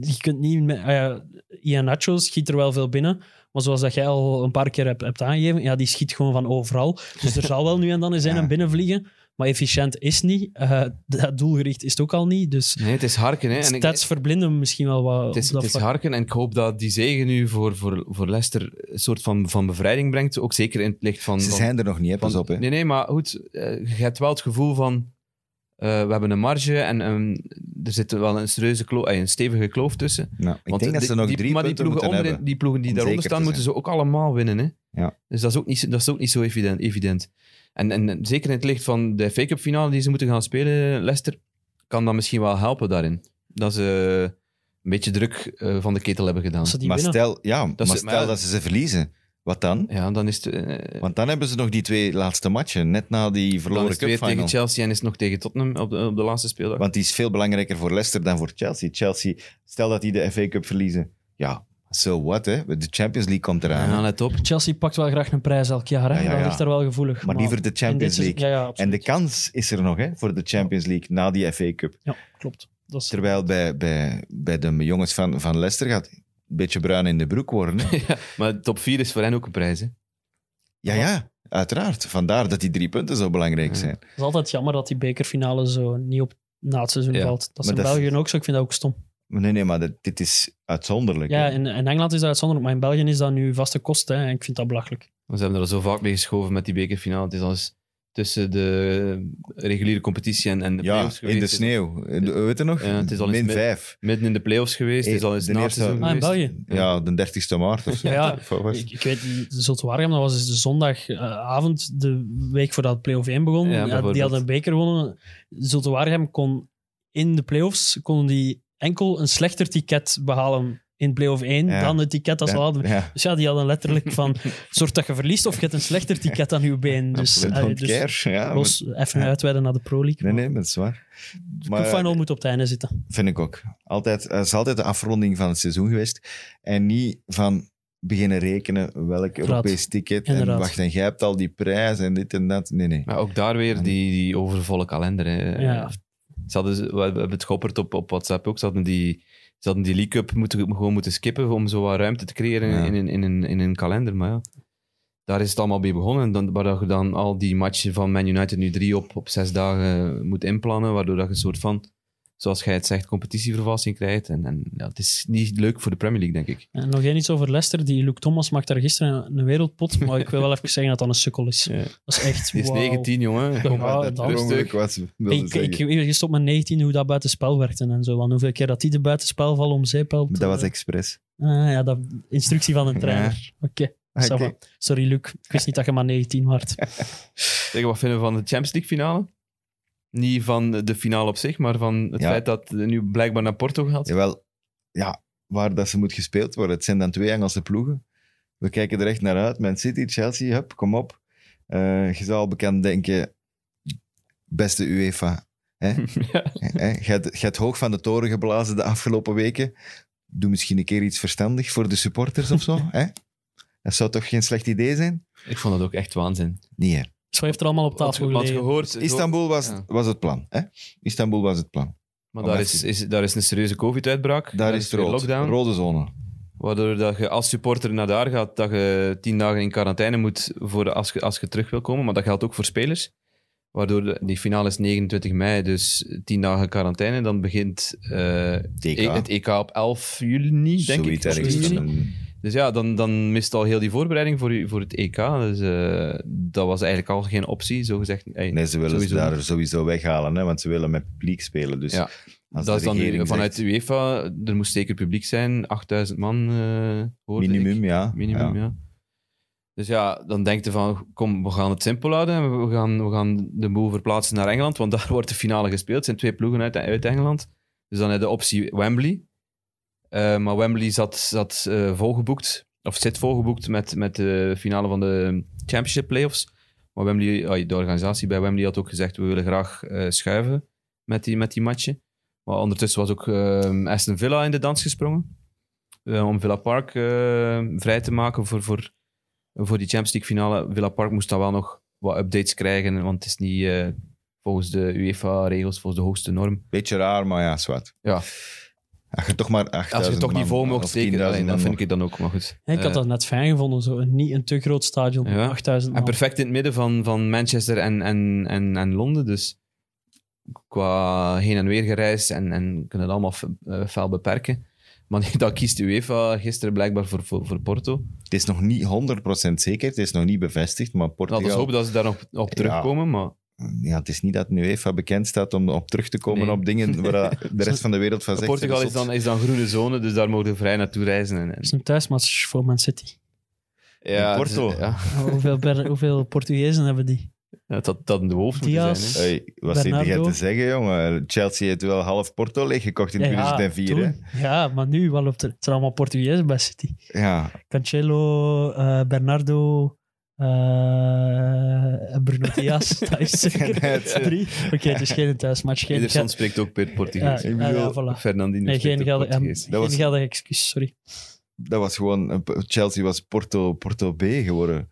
Je kunt niet met, ah ja, Ian Nacho schiet er wel veel binnen. Maar zoals dat jij al een paar keer hebt, hebt aangegeven, ja, die schiet gewoon van overal. Dus er zal wel nu en dan eens een Ja. en binnenvliegen. Maar efficiënt is niet. Eh, dat doelgericht is het ook al niet. Dus Nee, het is harken, hè. En ik- stats verblinden me misschien wel wat. Het is, op het dat is vlak. harken en ik hoop dat die zegen nu voor, voor, voor Leicester een soort van, van bevrijding brengt. Ook zeker in het licht van... Ze van- zijn er nog niet, hè? van- pas op. Hè? Nee, nee, maar goed. eh, je hebt wel het gevoel van... eh, we hebben een marge en ehm, er zit wel een, serieuze kloof, eh, een stevige kloof tussen. Nou, ik Want denk dat die- ze nog die- drie maar die punten ploegen, moeten onderin- hebben. die ploegen die om daaronder zeker staan, te moeten ze ook allemaal winnen. Hè? Ja. Dus dat is ook niet, zo- dat is ook niet zo evident. evident. En, en en zeker in het licht van de FA Cup finale die ze moeten gaan spelen, Leicester, kan dat misschien wel helpen daarin. Dat ze een beetje druk eh, van de ketel hebben gedaan. Als ze die Maar winnen. stel, ja, maar ze- stel maar- dat ze ze verliezen, wat dan? Ja, dan is het... eh, Want dan hebben ze nog die twee laatste matchen, net na die dan is verloren het weer cupfinal. tegen Chelsea en is het nog tegen Tottenham op de, op de laatste speeldag. Want die is veel belangrijker voor Leicester dan voor Chelsea. Chelsea, stel dat die de FA Cup verliezen. Ja, so what, hè? De Champions League komt eraan. ja, hè. let op. Chelsea pakt wel graag een prijs elk jaar. Hè? Ja, ja, Dat ja. ligt daar wel gevoelig. Maar liever de in dit Champions seizoen- League. Ja, ja, En absoluut. de kans is er nog, hè, voor de Champions League na die FA Cup. ja, klopt. Dat is, Terwijl bij, bij, bij de jongens van, van Leicester gaat het een beetje bruin in de broek worden. Hè? Maar top 4 is voor hen ook een prijs. Hè? Ja, ja, uiteraard. Vandaar dat die drie punten zo belangrijk Ja. zijn. Het is altijd jammer dat die bekerfinale zo niet op na het seizoen Ja, valt. Dat is maar in dat is- België ook zo. Ik vind dat ook stom. Maar Nee, nee, maar dat- dit is uitzonderlijk. Ja, hè. in, in Engeland is dat uitzonderlijk, maar in België is dat nu vaste kost. Hè, en ik vind dat belachelijk. Want Ze hebben er al zo vaak mee geschoven met die bekerfinale. Het is al eens tussen de reguliere competitie en, en de Ja, playoffs in de geweest. sneeuw. De- Weet je nog? Ja, het is al eens Min met- vijf. Midden in de play-offs geweest. Het is al eens De na het eerste- seizoen Ah, in geweest. België? Ja, de 30ste maart of zo. Ja, ja. Of wat was het? Ik, ik weet, niet, je zult het waar hebben, dat was dus de zondagavond, de week voordat play-off 1 begon. Ja, Ja, die bijvoorbeeld. hadden een beker gewonnen. Zulte Waregem kon in de play-offs kon die enkel een slechter ticket behalen in play-off 1 Ja. dan het ticket dat ze Ja, hadden. ja. Dus ja, die hadden letterlijk van, zorg dat je verliest of je hebt een slechter ticket aan je been. Dus, Absoluut. allee, Don't dus care. Ja, maar- los, even ja. uitweiden naar de Pro League. Nee, nee, dat is waar. maar, de Maar eh, final moet op het einde zitten. vind ik ook. Altijd, eh, het is altijd de afronding van het seizoen geweest. En niet van beginnen rekenen welk Europees ticket. En Inderdaad. Oh, wacht, en jij hebt al die prijs en dit en dat. Nee, nee. Maar ook daar weer die, die overvolle kalender. Hè. Ja. Ze hadden, we hebben het geopperd op, op WhatsApp ook. Ze hadden die, ze hadden die League Cup moeten, gewoon moeten skippen om zo wat ruimte te creëren Ja. in, in, in, een- in een kalender. Maar ja, daar is het allemaal bij begonnen. En dan, waar dat je dan al die matchen van Man United nu drie op, op zes dagen moet inplannen, waardoor dat je een soort van, zoals jij het zegt, competitievervalsing krijgt. En, en ja, het is niet leuk voor de Premier League, denk ik. En Eh, nog één iets over Leicester. Die Luke Thomas maakt daar gisteren een- een wereldpot. Maar ik wil wel even zeggen dat dat een sukkel is. Ja. Dat is echt. Die is wauw. 19, jongen. Kom, Ja, dat dan- per ongeluk Rustig. was, wilde Ik, zeggen. ik, ik wist op mijn 19 hoe dat buitenspel werkte en zo. Want hoeveel keer dat die de buitenspel vallen om zeep helpt. Maar dat was expres. Ah, ja, dat instructie van een trainer. Oké. ça va. Oké. Sorry, Luc. Ik wist niet dat je maar 19 was. Zeg, wat vinden we van de Champions League finale? Niet van de finale op zich, maar van het Ja. feit dat het nu blijkbaar naar Porto gaat. Jawel, ja, waar dat ze moet gespeeld worden. Het zijn dan twee Engelse ploegen. We kijken er echt naar uit. Man City, Chelsea, hup, kom op. Eh, je zou al bekend denken, beste UEFA. Hè? Ja. Hè, Je hebt- je hebt hoog van de toren geblazen de afgelopen weken. Doe misschien een keer iets verstandig voor de supporters of zo. Hè? Dat zou toch geen slecht idee zijn? Ik vond dat ook echt waanzin. Nee. hè. Zo Dus heeft er allemaal op tafel Had gelegen. gehoord, het Istanbul was, Ja. was het plan. Hè? Istanbul was het plan. Maar daar is, is, daar is een serieuze COVID-uitbraak. Oh, Daar is het weer rood. lockdown. Rode zone. Waardoor dat je als supporter naar daar gaat, dat je tien dagen in quarantaine moet voor als, je, als je terug wil komen. Maar dat geldt ook voor spelers. Waardoor de- die finale is 29 mei, dus tien dagen quarantaine. Dan begint eh, TK. e- het EK op 11 juni, denk Zoiets ik. ergens. 10 juni. Dan een- Dus ja, dan, dan mist al heel die voorbereiding voor, u- voor het EK. Dus eh, dat was eigenlijk al geen optie, zo gezegd. Ey, Nee, ze willen sowieso ze daar niet. sowieso weghalen, hè, want ze willen met publiek spelen. Dus Ja, als dat de is dan regering vanuit de zegt, UEFA. Er moest zeker publiek zijn, 8000 man. eh hoorde ik. minimum, ja. Minimum, ja. Dus ja, dan denkt je van, kom, we gaan het simpel houden. We gaan, we gaan de boel verplaatsen naar Engeland, want daar wordt de finale gespeeld. Het zijn twee ploegen uit, uit Engeland. Dus dan heb je de optie Wembley. Eh, maar Wembley zat, zat eh, volgeboekt, of zit volgeboekt met, met de finale van de Championship Playoffs. Maar Wembley, ah, de organisatie bij Wembley had ook gezegd, we willen graag eh, schuiven met die, met die matchen. Maar ondertussen was ook eh, Aston Villa in de dans gesprongen. eh, om Villa Park eh, vrij te maken voor, voor voor die Champions League finale. Villa Park moest dan wel nog wat updates krijgen, want het is niet eh, volgens de UEFA-regels, volgens de hoogste norm. Beetje raar, maar ja, zwart. Ja. Als je toch maar 8000 Als je toch niet man- vol mocht of steken, 10.000 allee, man dat vind mag. ik het dan ook, maar goed. Ik had Eh, dat net fijn gevonden, zo. een- niet een te groot stadion, Ja. 8000 man. En perfect in het midden van, van Manchester en, en, en, en Londen, dus qua heen en weer gereisd en, en kunnen het allemaal fe- eh, fel beperken. Maar dat kiest UEFA gisteren blijkbaar voor, voor, voor Porto. Het is nog niet 100% zeker, het is nog niet bevestigd, maar Portugal... Laten we hopen Nou, dat ze daar nog op terugkomen, maar ja, het is niet dat nu UEFA bekend staat om op terug te komen Nee. op dingen waar dat de rest van de wereld van zegt... Portugal "Zeg, is dan, zot." is dan groene zone, dus daar mogen we vrij naartoe reizen. En, en- Dat is een thuismatch voor Man City. Oh, ja, Porto. dus, ja. hoeveel, Ber- hoeveel Portugezen hebben die? Ja, dat, dat de wolf moet Diaz. zijn. Hè? Hey, wat zit jij Bernardo. te zeggen, jongen? Chelsea heeft wel half Porto leeggekocht in 2004, hè? toen. Ja, maar nu wel op de... Het zijn allemaal Portugezen bij City. Ja, Cancelo, eh, Bernardo, eh, Bruno Diaz, dat is zeker net, eh. drie. Oké, het is geen thuismatch. Geen, Ederson geen, spreekt ook per ja, Portugees. ja, ja, voilà. Fernandinho Nee, spreekt geen ook geldig, eh, Portugees. geen was- geldig excuus, sorry. dat was gewoon... eh, Chelsea was Porto, Porto B geworden Ja,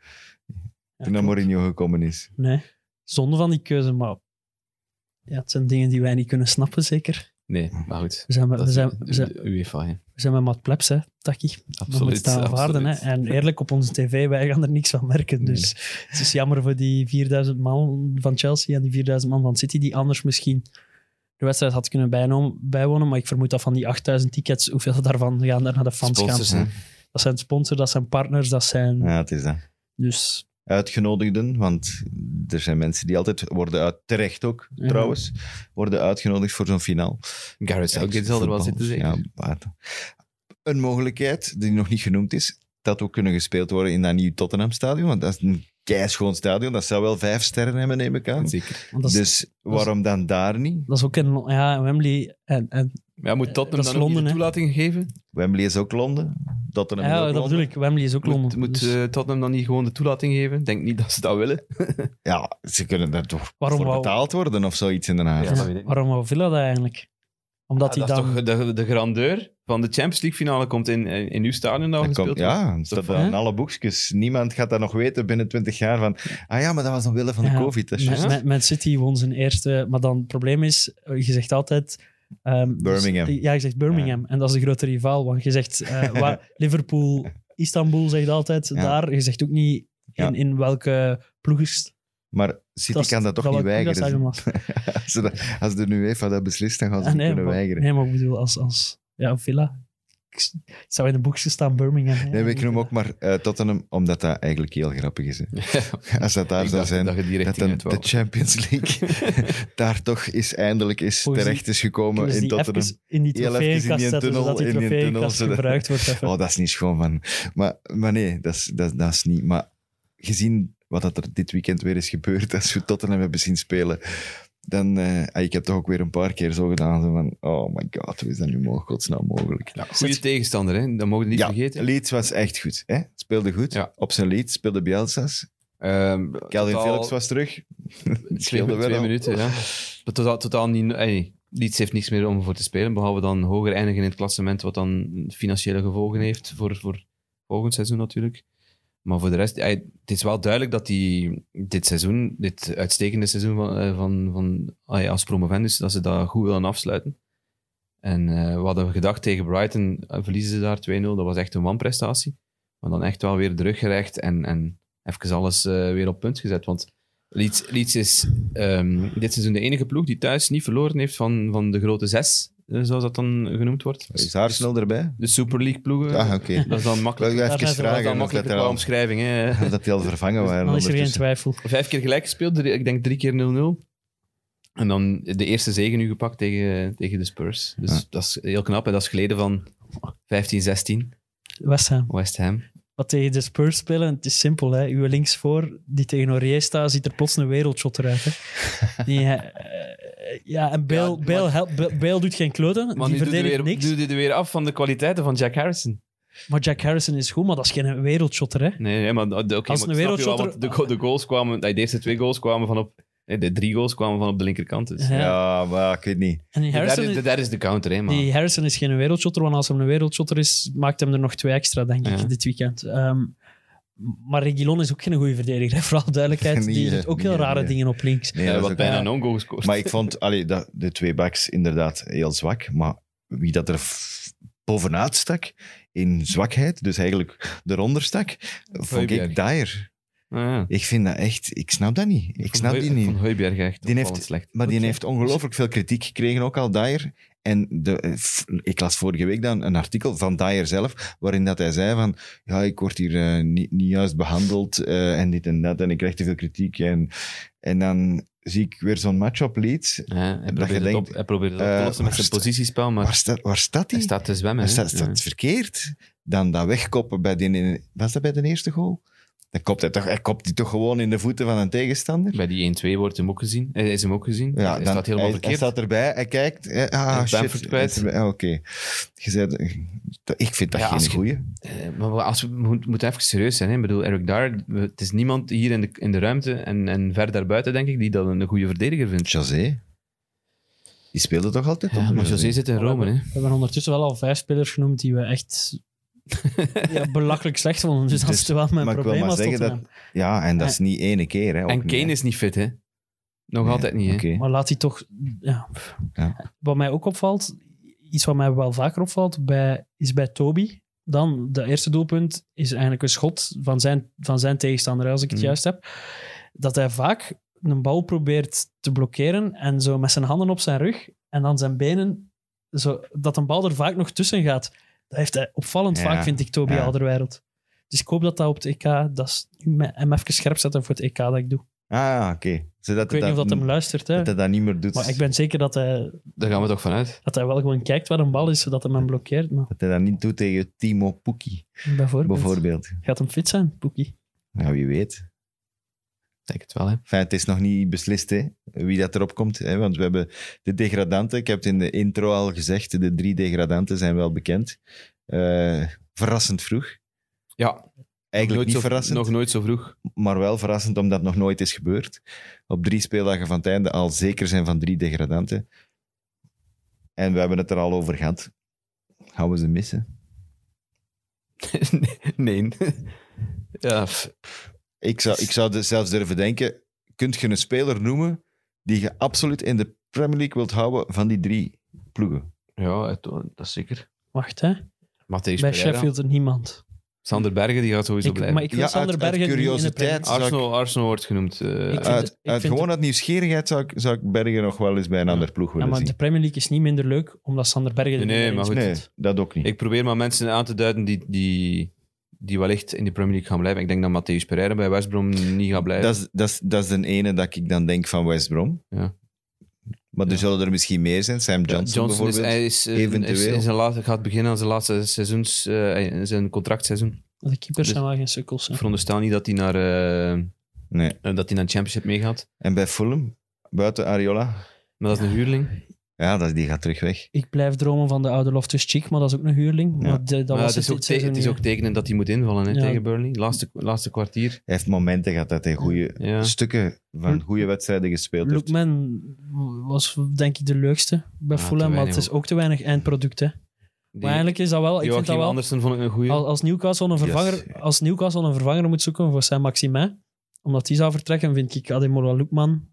toen dat klopt. Mourinho gekomen is. Nee, zonde van die keuze, maar ja, het zijn dingen die wij niet kunnen snappen, zeker. Nee, maar goed. We zijn, met- Dat we is zijn, de- we zijn, de UEFA, hè. we zijn met Mat Plebs, hè, Taki. We Absoluut. moeten dat aanvaarden. Hè. absoluut. En eerlijk, op onze tv, wij gaan er niks van merken. Nee. Dus het is jammer voor die 4000 man van Chelsea en die 4000 man van City, die anders misschien de wedstrijd had kunnen bijno- bijwonen. Maar ik vermoed dat van die 8000 tickets, hoeveel daarvan gaan er naar de fans Sponsors, gaan. hè. Dat zijn sponsors, dat zijn partners, dat zijn... Ja, het is dat. Dus uitgenodigden, want er zijn mensen die altijd worden uit, terecht ook Ja. trouwens, worden uitgenodigd voor zo'n finaal. Gareth Southgate zal er wel zitten, zeker. Ja, maar- Een mogelijkheid die nog niet genoemd is, dat ook kunnen gespeeld worden in dat nieuw Tottenham stadion, want dat is een keischoon stadion, dat zou wel vijf sterren hebben, neem ik aan. Zeker. want dat, is, dus waarom dan daar niet? dat is ook in ja, Wembley. En, en, Ja, moet Eh, dat Tottenham is dan Londen, Londen, de hè. toelating geven? Wembley is ook Londen, Tottenham is ja, ook dat bedoel Londen. ik. Wembley is ook Moet, Londen. moet dus eh, Tottenham dan niet gewoon de toelating geven? Ik denk niet dat ze dat willen. Ja, ze kunnen daar toch Waarom voor wou- betaald worden of zoiets in Den Haag. eh, Ja, dat weet ik niet. waarom wou Villa dat eigenlijk? Omdat Ja, hij dat dan... is toch de, de grandeur van de Champions League finale komt in, in, in uw stadion dan Dat gespeeld komt, wordt. ja, staat Toch, dan hè? in alle boekjes. Niemand gaat dat nog weten binnen 20 jaar van. Ah ja, maar dat was omwille van de Ja, COVID. Dat is Man, juist." Man- Man City won zijn eerste. Maar dan het probleem is, eh, je zegt altijd... ehm, Birmingham. dus- ja, je zegt Birmingham. En dat is de grote rivaal. Want je zegt eh, waar, Liverpool, Istanbul zegt altijd Ja. daar. Je zegt ook niet in, Ja. in welke ploeg is Maar City dat is- kan dat toch welk niet ploeg dat weigeren. stadion was. Als, ze dat, als de UEFA dat beslist, dan gaan ze Ah, niet nee, kunnen maar, weigeren. Nee, maar ik bedoel, als, als ja, Villa. Ik s- het zou in de boekjes staan Birmingham. hè. Nee, we noem ook maar eh, Tottenham, omdat dat eigenlijk heel grappig is. Hè. Als dat daar Ik zou dacht zijn, dat dat, je die richting dan uit wou. de Champions League daar toch is eindelijk is Volgens terecht is Kunnen gekomen ze in die Tottenham. even in die Heel even in die trofeeënkast zetten, tunnel, zodat die in die trofeeënkast tunnel, zodat- gebruikt wordt. even. Oh, dat is niet schoon van. Maar, maar nee, dat is, dat, dat is niet. Maar gezien wat dat er dit weekend weer is gebeurd, als we Tottenham hebben zien spelen, dan. eh, ah, ik heb toch ook weer een paar keer zo gedaan. Zo van, oh my god, hoe is dat nu mogelijk? Godsnaam mogelijk. Goede tegenstander, hè? dat mogen we niet ja, vergeten. Leeds was echt goed. Hè? Speelde goed. Ja. Op zijn Leeds speelde Bielsa's. Ehm, Calvin totaal- Phillips was terug. Het Twee, scheelde wel. twee al. Oh. minuten, ja. Maar totaal, totaal niet... Ey, Leeds heeft niks meer om voor te spelen, behalve dan hoger eindigen in het klassement, wat dan financiële gevolgen heeft voor, voor volgend seizoen natuurlijk. Maar voor de rest, ey, het is wel duidelijk dat die dit seizoen, dit uitstekende seizoen van, eh, van, van ey, als promovendus, dat ze dat goed willen afsluiten. En eh, we hadden gedacht tegen Brighton, eh, verliezen ze daar 2-0, dat was echt een wanprestatie. Maar dan echt wel weer teruggerecht en, en even alles eh, weer op punt gezet. Want Leeds, Leeds is ehm, dit seizoen de enige ploeg die thuis niet verloren heeft van, van de grote zes, eh, zoals dat dan genoemd wordt. Is haar snel erbij? De Super League ploegen, Ah, oké. dat is dan Ik makkelijk. wil Daar even zijn ze wel Dat vragen is dan of dat, makkelijk er qua al, omschrijving. Hè. of dat die al vervangen waren. Dan is er geen ondertussen. twijfel. Vijf keer gelijk gespeeld, drie- ik denk drie keer 0-0. En dan de eerste zegen nu gepakt tegen, tegen de Spurs. Dus Ja. dat is heel knap en dat is geleden van 15-16, West Ham. West Ham. Maar tegen de Spurs spelen, het is simpel. Hè. Uw linksvoor, die tegen Aurier staat, ziet er plots een wereldshot eruit. Hè. Die, eh, ja, en Bale, Ja, Bale, helpt- Bale- Bale doet geen kloten. Maar die nu doet hij verdedigt weer, niks. doet hij er weer af van de kwaliteiten van Jack Harrison. Maar Jack Harrison is goed, maar dat is geen wereldshotter. Hè. Nee, nee maar, de- oké, maar een ik snap je wereldshotter- wel, want de, go- de goals kwamen... De eerste twee goals kwamen van op... nee, De drie goals kwamen van op de linkerkant. Dus. Ja. Ja, maar ik weet niet. En die Ja, Harrison, dat, is, is, dat is de counter, hè, man. die Harrison is geen wereldshotter, want als hem een wereldshotter is, maakt hem er nog twee extra, denk ik, Ja. dit weekend. Ehm, maar Reguilon is ook geen goede verdediger, hè, voor alle duidelijkheid. Nee, die hè. doet ook Nee, heel hè, rare nee. dingen op links. Nee, Eh, dat is wat ook- bijna ja. een on-goal gescoord. Maar ik vond allee, dat, de twee backs inderdaad heel zwak. Maar wie dat er f- bovenuit stak in zwakheid, dus eigenlijk eronder stak, vond ik Heuberg. Dyer. Ah, ja. Ik vind dat echt... Ik snap dat niet. Ik vond snap Heu- die Ik niet. vond Heuberg echt Die heeft- opvallend slecht. Maar die Oké. heeft ongelooflijk veel kritiek gekregen, ook al Dyer. En de, eh, f- ik las vorige week dan een artikel van Dyer zelf, waarin dat hij zei van, ja, ik word hier eh, niet, niet juist behandeld eh, en dit en dat, en ik krijg te veel kritiek. En, en dan zie ik weer zo'n match op Leeds. Ja, hij, je probeert het denkt, op, hij probeert het op eh, te waar lossen met zijn sta- positiespel, maar Waar, sta, waar staat hij hij? staat te zwemmen. Hij hè. staat, staat Ja. verkeerd. Dan dat wegkoppen bij die... Was dat bij de eerste goal? Dan kopt hij toch, hij kopt die toch gewoon in de voeten van een tegenstander? Bij die 1-2 wordt hem ook gezien. Hij is hem ook gezien. Ja, hij dan- staat helemaal hij, verkeerd. Hij staat erbij, hij kijkt. eh, ah, Hij is shit. Bamford Hij kwijt. is erbij, ah, Oké. Je zei dat- dat- Ik vind dat Ja, als geen je- goeie. Eh, maar we- als we we moeten moeten even serieus zijn. Hè. Ik bedoel, Eric Dyer, we- het is niemand hier in de, in de ruimte en, en ver daarbuiten, denk ik, die dat een goede verdediger vindt. Dus José. Die speelde toch altijd? Ja, onder maar José zit in Rome, hè. We hebben ondertussen wel al vijf spelers genoemd die we echt ja, belachelijk slecht vonden. Dus dat Dus- is wel mijn maar ik wil probleem maar als zeggen dat- Tottenham. Ja, en dat is niet ene keer. Hè, ook En niet, Kane hè. is niet fit, hè. Nog Nee, altijd niet, hè. oké. Maar laat hij toch... Ja. Ja. Wat mij ook opvalt, iets wat mij wel vaker opvalt, bij, is bij Toby. Dan, de eerste doelpunt is eigenlijk een schot van zijn, van zijn tegenstander, als ik het Mm. Mhm. juist heb. Dat hij vaak een bal probeert te blokkeren en zo met zijn handen op zijn rug en dan zijn benen, zo, dat een bal er vaak nog tussen gaat. Dat heeft hij opvallend Ja, vaak, vind ik, Toby ja. Alderweireld. Dus ik hoop dat dat op het EK, dat is hem even scherp zetten voor het EK dat ik doe. Ah, oké. Zodat Ik weet niet of dat hem luistert, hè. dat hij dat niet meer doet. Maar ik ben zeker dat hij, Daar gaan we toch vanuit. dat hij wel gewoon kijkt waar een bal is, zodat hij hem blokkeert. Maar Dat hij dat niet doet tegen Timo Pukki, bijvoorbeeld, bijvoorbeeld. gaat hem fit zijn, Poekie? Nou, wie weet. Ik denk het wel, hè. Enfin, het is nog niet beslist hè, wie dat erop komt. Hè, want we hebben de degradanten. Ik heb het in de intro al gezegd. De drie degradanten zijn wel bekend. Eh, verrassend vroeg. Ja, Eigenlijk nooit niet zo, verrassend, nog nooit zo vroeg. maar wel verrassend omdat het nog nooit is gebeurd. Op drie speeldagen van het einde al zeker zijn van drie degradanten. En we hebben het er al over gehad. Gaan we ze missen? nee. ja, pff. Ik zou, ik zou dus zelfs durven denken, kunt je een speler noemen die je absoluut in de Premier League wilt houden van die drie ploegen? ja, het- dat is zeker. Wacht, hè. Matthijs Bij Pereira. Sheffield er niemand. Sander Bergen, die gaat sowieso Ik, blijven. maar ik wil Ja, Sander uit- uit Bergen niet in de curiositeit. Premier League. Arsenal, Arsenal wordt genoemd. eh, Ik vind- uit ik uit vind gewoon uit nieuwsgierigheid zou ik, zou ik Bergen nog wel eens bij een Ja. ander ploeg Ja, willen maar de zien. Premier League is niet minder leuk, omdat Sander Bergen er Nee, maar niet meer goed. in Nee, speelt. dat ook niet. Ik probeer maar mensen aan te duiden die, die, die wellicht in de Premier League gaan blijven. Ik denk dat Matthäus Pereira bij West Brom niet gaat blijven. Dat is, dat, is, dat is de ene dat ik dan denk van West Brom. Ja. Maar er Ja. zullen er misschien meer zijn. Sam Johnson, is, bijvoorbeeld. hij is, eh, eventueel. is in zijn laatste, gaat beginnen aan zijn laatste seizoens, eh, in zijn contractseizoen. De keepers Dus- zijn wel geen sukkels. hè. Ik veronderstel niet dat hij naar, eh, eh, Nee. dat hij naar de Championship meegaat. En bij Fulham, buiten Ariola, Maar dat is een huurling. ja, dat, die gaat terug weg. Ik blijf dromen van de oude Loftus Cheek, maar dat is ook een huurling. Ja. Maar de- dat maar was dus het is, dit ook te- seizoen het is niet, ook tekenen dat hij moet invallen hè, Ja. tegen Burnley. Laatste, laatste kwartier. Hij heeft momenten gehad dat hij goede Ja. Hm. stukken van goede wedstrijden hè. gespeeld heeft. Lookman was denk ik de leukste bij Ja, Ah, te Fulham, maar het weinig is ook te weinig eindproduct. Hè. Die- Maar eigenlijk is dat wel... Ik vind dat Joachim wel Andersen vond ik een goeie. Als, als, Newcastle een vervanger, Yes. als Newcastle een vervanger moet zoeken voor Saint-Maximin, omdat die zou vertrekken, vind ik Ademola Loekman...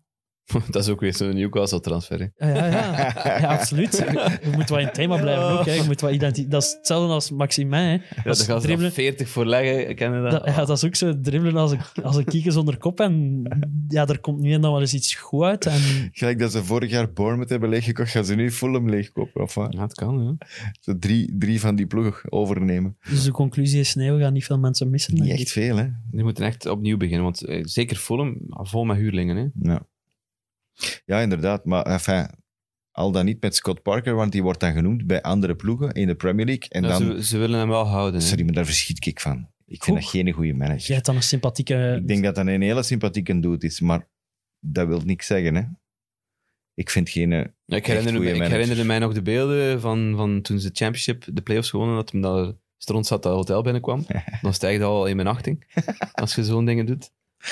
dat is ook weer zo'n Newcastle-transfer. hè. Ja, ja, ja. ja, absoluut. Je moet wel in het thema blijven ook. Hè. Je moet wel identi- dat is hetzelfde als Maximin. Hè. Ja, Dat daar is gaan ze dan dribbelen. 40 voor leggen. Kennen dat? Dat, ja, dat is ook zo dribbelen als een, als een kieken zonder kop. En ja, er komt nu en dan wel eens iets goed uit. En Gelijk dat ze vorig jaar Bournemouth hebben leeggekocht, gaan ze nu Fulham leegkopen. Of wat? Ja, het kan, ja. Zo drie, drie van die ploegen overnemen. dus de conclusie is: nee, we gaan niet veel mensen missen. Niet denk echt ik. veel, hè? Die moeten echt opnieuw beginnen, want eh, zeker Fulham, ah, vol met huurlingen. Hè. Ja, ja inderdaad. Maar enfin, al dan niet met Scott Parker, want die wordt dan genoemd bij andere ploegen in de Premier League. En Ja, dan... ze, ze willen hem wel houden. hè. Sorry, maar daar verschiet ik van. Ik vind Oeh. dat geen goede manager. Jij hebt dan een sympathieke... Ik denk dat dat een hele sympathieke dude is, maar dat wil niks zeggen, hè. Ik vind geen... eh, Ik goeie herinnerde, me- ik manager. herinnerde mij nog de beelden van, van toen ze de championship, de playoffs gewonnen, dat hem daar stront zat dat hotel binnenkwam. Dan stijgt dat al in mijn achting, als je zo'n dingen doet.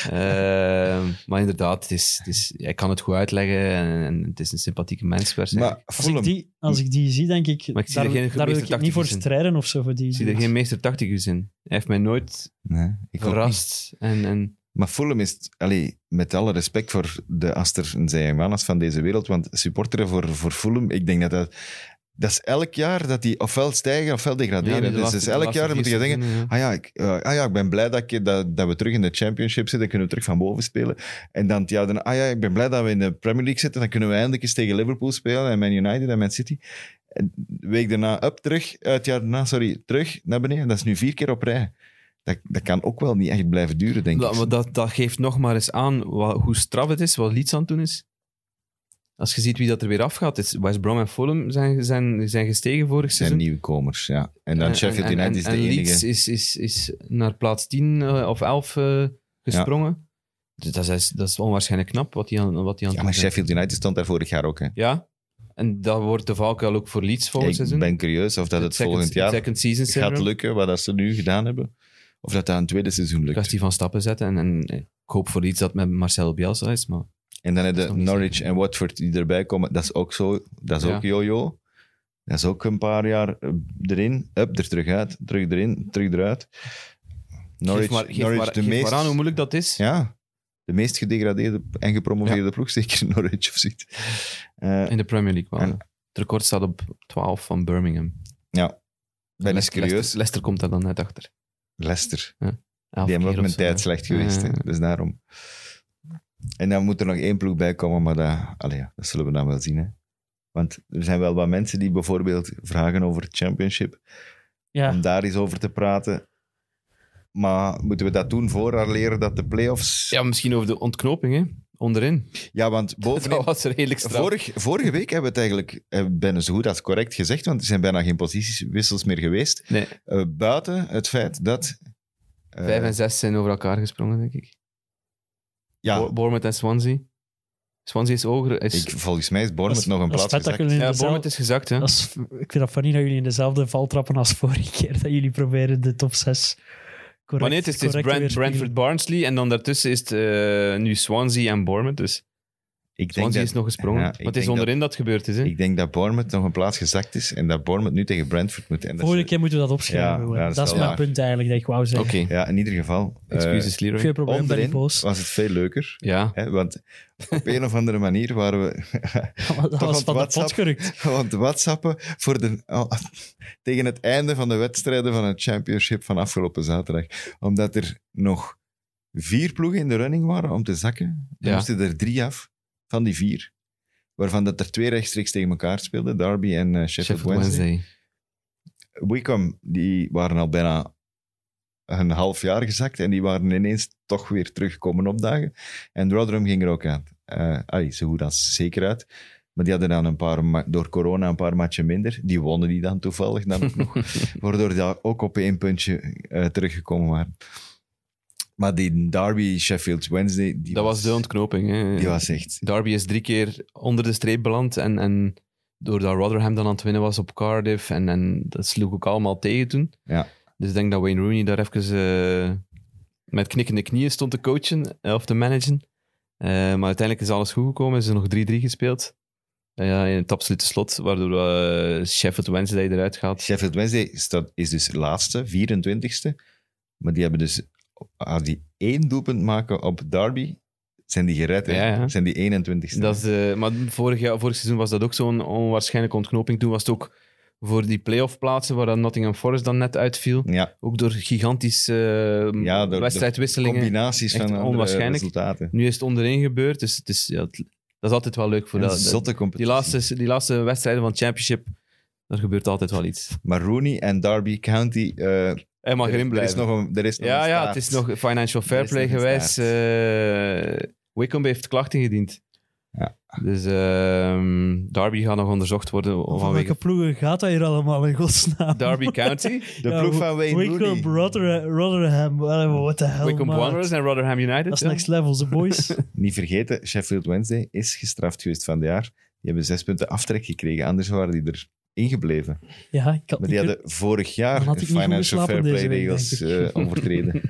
Ehm, maar inderdaad, het is, het is, hij kan het goed uitleggen en, en het is een sympathieke mens. waarschijnlijk. Maar Als ik, Fulham, die, als ik die zie, denk ik... Maar ik zie daar, er geen daar wil ik gemeester niet voor tacticus in. strijden of zo. Voor die, ik zie er geen meester tacticus in. Hij heeft mij nooit nee, ik ook niet. verrast. En, en, Maar Fulham is, allee, met alle respect voor de Aster en Zijmanas van deze wereld, want supporteren voor, voor Fulham, ik denk dat dat... Dat is elk jaar dat die ofwel stijgen ofwel degraderen. de dus laatste- dat is de elk laatste jaar vier moet je denken, seizoenen, ja. ah ja, ik, eh, ah ja, ik ben blij dat, ik, dat, dat we terug in de championship zitten, kunnen we terug van boven spelen. En dan het jaar daarna, ah ja, ik ben blij dat we in de Premier League zitten, dan kunnen we eindelijk eens tegen Liverpool spelen en Man United en Man City. En de week daarna up, terug, eh, het jaar daarna, sorry, terug naar beneden. Dat is nu vier keer op rij. Dat, dat kan ook wel niet echt blijven duren, denk Dat, ik. maar dat, dat geeft nog maar eens aan wa- hoe straf het is, wat Leeds aan het doen is. Als je ziet wie dat er weer afgaat, is West Brom en Fulham zijn, zijn, zijn gestegen vorig zijn seizoen. nieuwkomers, ja. En dan Eh, Sheffield en- en- United is de en Leeds enige. is, is, is naar plaats 10 eh, of 11 eh, gesprongen. Dus dat, is, dat is onwaarschijnlijk knap wat die aan, wat die aan Ja, het maar doen zijn. Sheffield United stond daar vorig jaar ook, hè. Ja, en dat wordt de valkuil ook voor Leeds volgend Ik seizoen. ben curieus of dat het second- volgend jaar second season gaat syndrome. lukken, wat dat ze nu gedaan hebben. Of dat dat aan het tweede seizoen lukt. Kwestie van stappen zetten. En, en ik hoop voor Leeds dat het met Marcelo Bielsa is, maar... En dan heb Dat je is nog niet Norwich zeker. en Watford die erbij komen. Dat is ook zo. Dat is Ja. ook yo-yo. Dat is ook een paar jaar eh, erin. Up, er terug uit. Terug erin. Terug eruit. Norwich, geef maar, geef Norwich maar, de geef meest... maar aan hoe moeilijk dat is. ja, de meest gedegradeerde en gepromoveerde ploeg. Zeker Norwich of zoiets. Eh, In de Premier League wel. En- ja. Het record staat op 12 van Birmingham. ben eens Leicester- curieus. Leicester, Leicester komt daar dan net achter. Leicester. Elf Die hebben keer ook of mijn zo, hè. tijd slecht geweest. hè. Ja. Dus daarom. En dan moet er nog één ploeg bij komen, maar dat, allee, ja, dat zullen we dan wel zien. Hè. Want er zijn wel wat mensen die bijvoorbeeld vragen over het championship. Ja, Om daar eens over te praten. Maar moeten we dat doen voor haar leren dat de play-offs... Ja, Ja, misschien over de ontknoping, hè? Onderin. want Dat bovenin... was er redelijk straf. Vorig, vorige week hebben we het eigenlijk eh, bijna zo goed als correct gezegd, want er zijn bijna geen positiewissels meer geweest. Nee, Eh, buiten het feit dat... eh, vijf en zes zijn over elkaar gesprongen, denk ik. ja, Bo- Bournemouth en Swansea. Swansea is hoger. Is, ik, volgens mij is dat Bournemouth is- nog een dat is plaats vet dat gezakt. jullie in ja, dezelfde- Bournemouth is gezakt, hè? dat is- Ik vind dat funny dat jullie in dezelfde val trappen als vorige keer. Dat jullie proberen de top 6 correct maar nee, het is, het is correct Brent- te Brentford weerspiegelen. Barnsley en dan daartussen is het eh, nu Swansea en Bournemouth. Dus Ik denk, Swansea dat, is nog gesprongen. ja, ik maar het is denk onderin dat, het gebeurd is, hè? ik denk dat Bournemouth nog een plaats gezakt is en dat Bournemouth nu tegen Brentford moet. En dat Volgende ze- keer moeten we dat opschrijven. dus- Ja, hoor. ja, dat dat, is is wel mijn waar. punt eigenlijk, dat ik wou zeggen. Oké, Ja, in ieder geval. eh, excuses, Leroy. Geen probleem, ben onderin niet boos. was het veel leuker. Ja, Hè, want op een of andere manier waren we Dat Toch want was van de pot WhatsApp- Oh, gerukt. want whatsappen voor de, al- tegen het einde van de wedstrijden van het championship van afgelopen zaterdag. Omdat er nog vier ploegen in de running waren om te zakken. Dan Ja. moesten er drie af van die vier. Waarvan dat er twee rechtstreeks tegen elkaar speelden. Derby en eh, Sheffield, Sheffield Wednesday. Wednesday. Wycombe, die waren al bijna een half jaar gezakt en die waren ineens toch weer terugkomen opdagen. En Rotherham ging er ook aan. Eh allee, zo goed als zeker uit. Maar die hadden dan een paar, ma- door corona een paar matchen minder. Die wonnen die dan toevallig dan ook nog. Waardoor die ook op één puntje eh, teruggekomen waren. Maar die derby Sheffield Wednesday, die Dat was de ontknoping, hè? die was echt... Derby is drie keer onder de streep beland. En, en doordat Rotherham dan aan het winnen was op Cardiff. En, en dat sloeg ook allemaal tegen toen. Ja. Dus ik denk dat Wayne Rooney daar even eh, met knikkende knieën stond te coachen eh, of te managen. Eh, maar uiteindelijk is alles goed gekomen. Ze hebben nog 3-3 gespeeld. Eh, ja, in het absolute slot, waardoor eh, Sheffield Wednesday eruit gaat. Sheffield Wednesday staat, is dus laatste, 24ste. Maar die hebben dus, als die één doelpunt maken op Derby, zijn die gered. hè? Ja, ja. Zijn die 21ste. Dat is, eh, maar vorig, jaar, vorig seizoen was dat ook zo'n onwaarschijnlijke ontknoping. Toen was het ook voor die playoff plaatsen waar dan Nottingham Forest dan net uitviel. ja, Ook door gigantische eh, Ja, door- door wedstrijdwisselingen. combinaties Echt van andere onwaarschijnlijk. resultaten. Nu is het onderin gebeurd, dus het is, ja, het- dat is altijd wel leuk voor Een dat- dat- zotte die, competitie. laatste, die laatste wedstrijden van het championship. Daar gebeurt altijd wel iets. Maar Rooney en Derby County... eh, Hij mag er, erin er is blijven. nog een, er is nog ja, een ja, staart. het is nog financial fair Er is nog play een gewijs. staart. eh Wycombe heeft klachten ingediend. Ja. Dus ehm, Derby gaat nog onderzocht worden Van welke vanwege ploegen gaat dat hier allemaal, in godsnaam? Derby County, De Ja, ploeg van Wayne Wickham, Rooney. Rotter- Rotherham, well, what the hell, Wickham maat. Wanderers en Rotherham United. Dat is ja. next level, ze boys. Niet vergeten, Sheffield Wednesday is gestraft geweest van het jaar. Die hebben zes punten aftrek gekregen, anders waren die er ingebleven. ja, ik had Maar die niet- hadden vorig Dan jaar had ik niet goed financial geslapen fair play deze week, regels denk ik. eh, overtreden.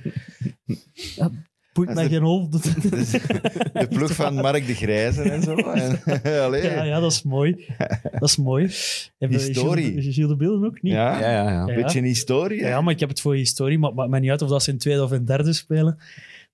boeit dat mij is de- geen hol. Dus de ploeg van Mark de Grijze en zo. En, allee. ja, ja, dat is mooi. Dat is mooi. Hebben we Historie. Gilles de- Gilles de Beelden ook niet. Ja, Ja, ja, ja. een beetje een historie. hè. Ja, maar ik heb het voor historie. Maar het maakt mij niet uit of dat ze in tweede of in derde spelen.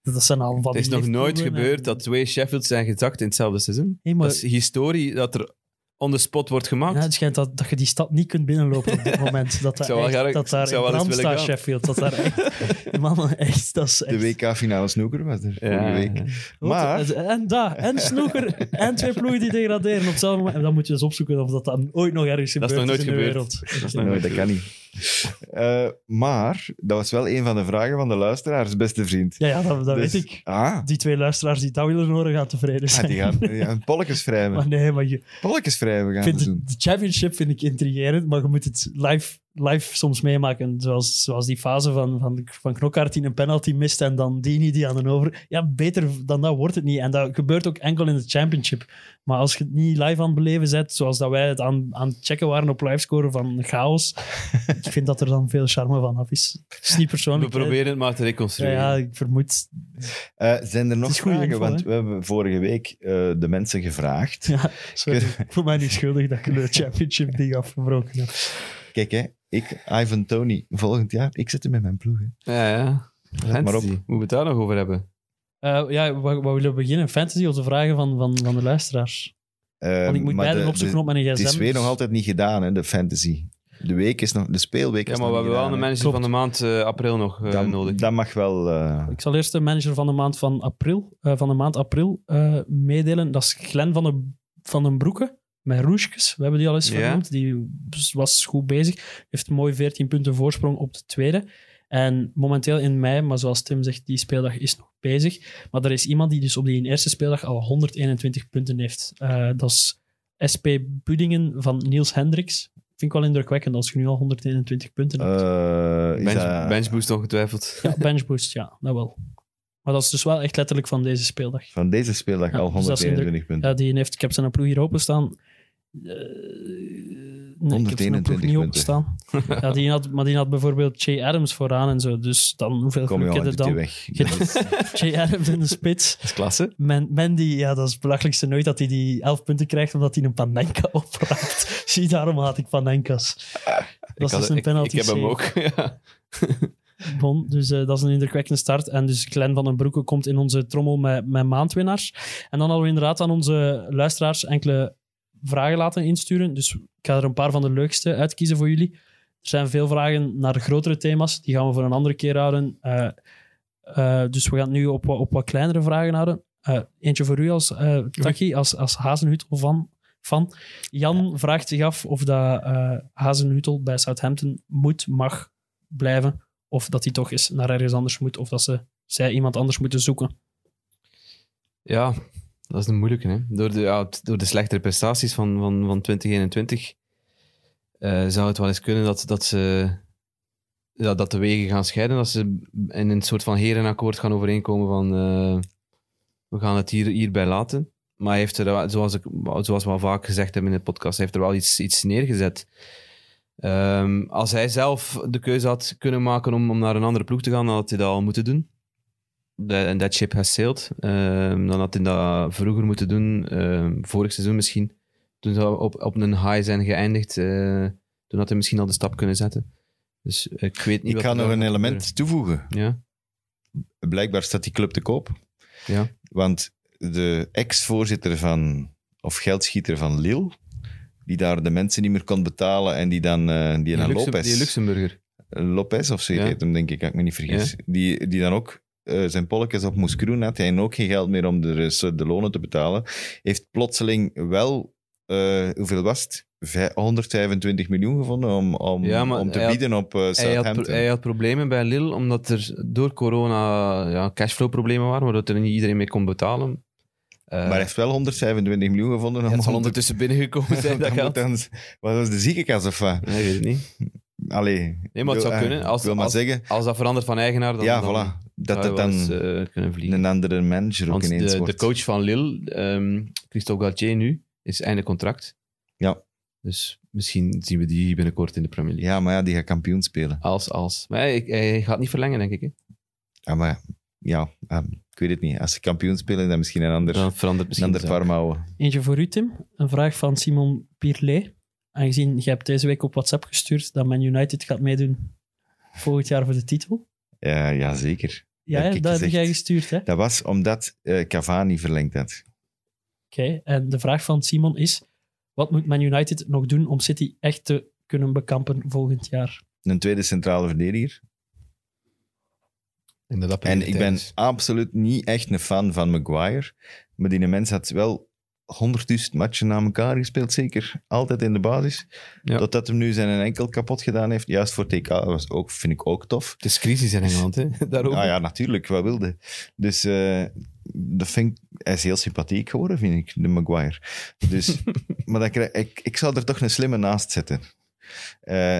Dat dat zijn al van Het is die nog nooit ploegen en- gebeurd dat twee Sheffields zijn gezakt in hetzelfde seizoen. Nee, maar- Dat is historie dat er on the spot wordt Ja, gemaakt. het schijnt dat, dat je die stad niet kunt binnenlopen op dit moment. Dat, daar zou wel echt- graag- dat ik daar zou in wel eens brand willen staat, gaan. Sheffield. Dat daar echt... Mannen, echt, dat is echt... De WK-finale snoeker was er vorige Ja, week. ja. Wat? Maar- En daar, en snoeker, en twee ploegen die degraderen op hetzelfde moment. En dan moet je eens opzoeken of dat dan ooit nog ergens Dat gebeurt is nog nooit in gebeurd. de wereld. Dat is nog Nee, nooit dat kan niet. Eh, maar, dat was wel een van de vragen van de luisteraars, beste vriend. Ja, ja dat, dat Dus- weet ik. Ah, Die twee luisteraars die dat willen horen, gaan tevreden ah, zijn. die gaan, die gaan polletjes wrijven. Maar nee, maar je, Polletjes wrijven gaan vind ze het- doen. de championship vind ik intrigerend, maar je moet het live, live soms meemaken. Zoals, zoals die fase van, van, van Knokkaart die een penalty mist en dan Dini die aan de over... Ja, beter dan dat wordt het niet. En dat gebeurt ook enkel in de championship. Maar als je het niet live aan het beleven zet, zoals dat wij het aan, aan het checken waren op livescore van chaos, ik vind dat er dan veel charme van af is. Het is niet We persoonlijk. hè. proberen het maar te Ja, reconstrueren. ja, ik vermoed... Eh, zijn er nog is goede vragen? info, Want hè? we hebben vorige week eh, de mensen gevraagd. Ja, sorry, ik voel mij niet schuldig dat ik de championship ding afgebroken heb. Kijk, hè, ik, Ivan Tony, volgend jaar, ik zit er met mijn ploeg. Hè. Ja, ja. Let maar op. Fantasy. Moeten we het daar nog over hebben? Eh, ja, waar, waar willen we beginnen? Fantasy of de vragen van, van, van de luisteraars? Eh, Want ik moet maar beide de- opzoeken de- op mijn gsm. Het is weer dus- nog altijd niet gedaan, hè, de fantasy. De, week is nog, de speelweek Ja, is maar we nog hebben niet wel een gedaan, manager Klopt. van de maand eh, april nog eh, hè. dat, nodig. dat mag wel... eh, Ik zal eerst de manager van de maand van april, eh, van de maand april eh, meedelen. Dat is Glenn van, de, van den Broeke. Met Roesjes, we hebben die al eens Ja. vernoemd. Die was goed bezig. Heeft mooi 14 punten voorsprong op de tweede. En momenteel in mei, maar zoals Tim zegt, die speeldag is nog bezig. Maar er is iemand die dus op die eerste speeldag al 121 punten heeft. Eh, dat is SP Budingen van Niels Hendricks. Vind ik wel indrukwekkend als je nu al 121 punten hebt. eh, is Bench, dat- Benchboost ongetwijfeld. Ja, benchboost, ja, dat wel. Maar dat is dus wel echt letterlijk van deze speeldag. Van deze speeldag Ja, al dus dat is indruk- 121 punten. Ja, die heeft, ik heb zijn ploeg hier openstaan. Eh, nee, ik heb zijn 121 ploeg niet punten. openstaan. ja, die had, maar die had bijvoorbeeld Jay Adams vooraan en zo. Dus dan hoeveel Kom geluk je heb je al dan? weg. Je hebt Jay Adams in de spits. Dat is klasse. Man, Mandy, ja, dat is het belachelijkste nooit dat hij die 11 punten krijgt omdat hij een panenka opraakt. Zie, daarom haat ik panenka's. Dat is had- dus een penalty. Ah, Ik, ik heb hem ook. save. ja. Bon, dus eh, dat is een indrukwekkende start. En dus Glenn van den Broeke komt in onze trommel met, met maandwinnaars. En dan hadden we inderdaad aan onze luisteraars enkele vragen laten insturen. Dus ik ga er een paar van de leukste uitkiezen voor jullie. Er zijn veel vragen naar grotere thema's. Die gaan we voor een andere keer houden. Eh, eh, dus we gaan het nu op, wat- op wat kleinere vragen houden. Eh, eentje voor u als eh Taki, als, als Hazenhutel van. van. Jan vraagt zich af of dat, eh Hazenhutel bij Southampton moet, mag blijven of dat hij toch eens naar ergens anders moet, of dat ze zij iemand anders moeten zoeken. Ja, dat is een moeilijke. Hè? Door, de, ja, t- door de slechtere prestaties van, van, van 2021 eh, zou het wel eens kunnen dat, dat ze ja, dat de wegen gaan scheiden. Dat ze in een soort van herenakkoord gaan overeenkomen van eh, we gaan het hier, hierbij laten. Maar hij heeft er, wel- zoals, ik, zoals we al vaak gezegd hebben in de podcast, hij heeft er wel iets, iets neergezet. Ehm, als hij zelf de keuze had kunnen maken om, om naar een andere ploeg te gaan, dan had hij dat al moeten doen. De- En dat ship has sailed. Ehm, dan had hij dat vroeger moeten doen, ehm, vorig seizoen misschien. Toen zou op, op een high zijn geëindigd, eh, toen had hij misschien al de stap kunnen zetten. Dus ik weet niet Ik wat ga er nog daar een gaat element toevoegen. gebeuren. Ja. Blijkbaar staat die club te koop. Ja. Want de ex-voorzitter van, of geldschieter van Lille, die daar de mensen niet meer kon betalen en die dan eh, die naar Die, Luxem- Lopez, die Luxemburger. Lopez of zo Ja. heet hem, denk ik, als ik me niet vergis, die, die dan ook eh, zijn polletjes op moest groen had en ook geen geld meer om de, rest- de lonen te betalen, heeft plotseling wel, eh, hoeveel was het? Vij- 125 miljoen gevonden om, om, Ja, maar om te hij had- bieden op eh, Hij had, Southampton. pro- hij had problemen bij Lille, omdat er door corona ja, cashflow-problemen waren, waardoor er niet iedereen meer kon betalen. Eh, Eh, Maar hij heeft wel 125 miljoen gevonden. ja, om het zal honderd- ondertussen binnengekomen zijn, dat dan geld. moet dan- Wat was de ziekenkast of wat? Nee, ik weet het niet. Allee. Nee, maar het wil- zou eh, kunnen. Als, ik wil maar als, zeggen, als dat verandert van eigenaar, dan, ja, dan voilà. Dat zou het je wel dan eens, eh, kunnen vliegen. een andere manager ook Want ineens de, wordt. de coach van Lille, ehm, Christophe Galtier nu, is einde contract. Ja. Dus misschien zien we die binnenkort in de Premier League. Ja, maar ja, die gaat kampioen spelen. Als, als. Maar hij, hij gaat niet verlengen, denk ik. Hè? Ja, Ah, maar ja, eh, ik weet het niet. Als ze kampioen spelen, dan misschien een ander, Dan verandert een misschien ander de paar zaak. mouwen. Eentje voor u, Tim. Een vraag van Simon Pierlet. Aangezien je hebt deze week op WhatsApp gestuurd dat Man United gaat meedoen volgend jaar voor de titel. Ja, jazeker. Ja, Heb hè, ik dat heb gezegd. jij gestuurd, hè? Dat was omdat eh, Cavani verlengd had. Oké, en de vraag van Simon is: wat moet Man United nog doen om City echt te kunnen bekampen volgend jaar? Een tweede centrale verdediger. En, dat dat En ik ben prioriteit is. absoluut niet echt een fan van Maguire. Maar die mens had wel 100.000 matchen na elkaar gespeeld, zeker. Altijd in de basis. Ja. Totdat hem nu zijn enkel kapot gedaan heeft. Juist voor TK was ook, vind ik ook tof. Het is crisis in Engeland, hè? Daarover. Ah ja, natuurlijk, wat wilde. Dus eh, dat vind ik, hij is heel sympathiek geworden, vind ik, de Maguire. Dus, maar dan krijg, ik, ik zou er toch een slimme naast zetten. Eh,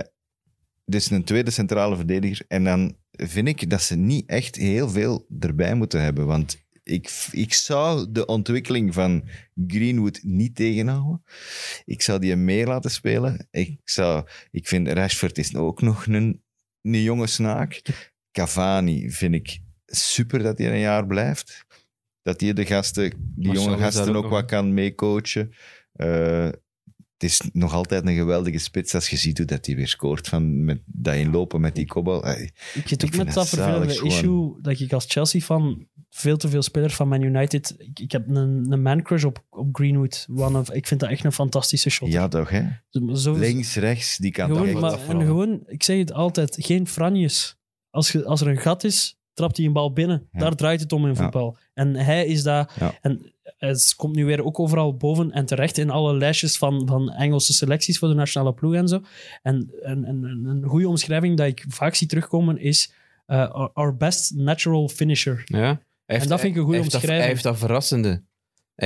dus een tweede centrale verdediger. En dan vind ik dat ze niet echt heel veel erbij moeten hebben. Want ik, ik zou de ontwikkeling van Greenwood niet tegenhouden. Ik zou die meer laten spelen. Ik, zou, ik vind Rashford is ook nog een, een jonge snaak. Cavani vind ik super dat hij een jaar blijft. Dat hij de gasten, die Marcel jonge is daar gasten ook ook nog, wat hè? kan meecoachen. Eh, het is nog altijd een geweldige spits als je ziet hoe dat hij weer scoort van met, dat inlopen met die kopbal. Eh, Ik zit Ik ook vind met dat dat vervelende zalig gewoon. issue dat ik als Chelsea-fan veel te veel spelers van Man United... Ik, ik heb een, een man-crush op, op Greenwood. One of, ik vind dat echt een fantastische shot. Ja, toch, hè? Zo, Links, rechts, die kant gewoon, uit. maar, dat en vooral. gewoon, ik zeg het altijd, geen franjes. Als, je, als er een gat is, trapt hij een bal binnen. Ja. Daar draait het om in Ja. voetbal. En hij is daar... Ja. En het komt nu weer ook overal boven en terecht in alle lijstjes van, van Engelse selecties voor de nationale ploeg en zo. En, en, en- en een goede omschrijving dat ik vaak zie terugkomen is eh, our- our best natural finisher. Ja. Hij heeft- dat vind ik een goede hij heeft dat- omschrijving. Hij heeft dat verrassende. Hij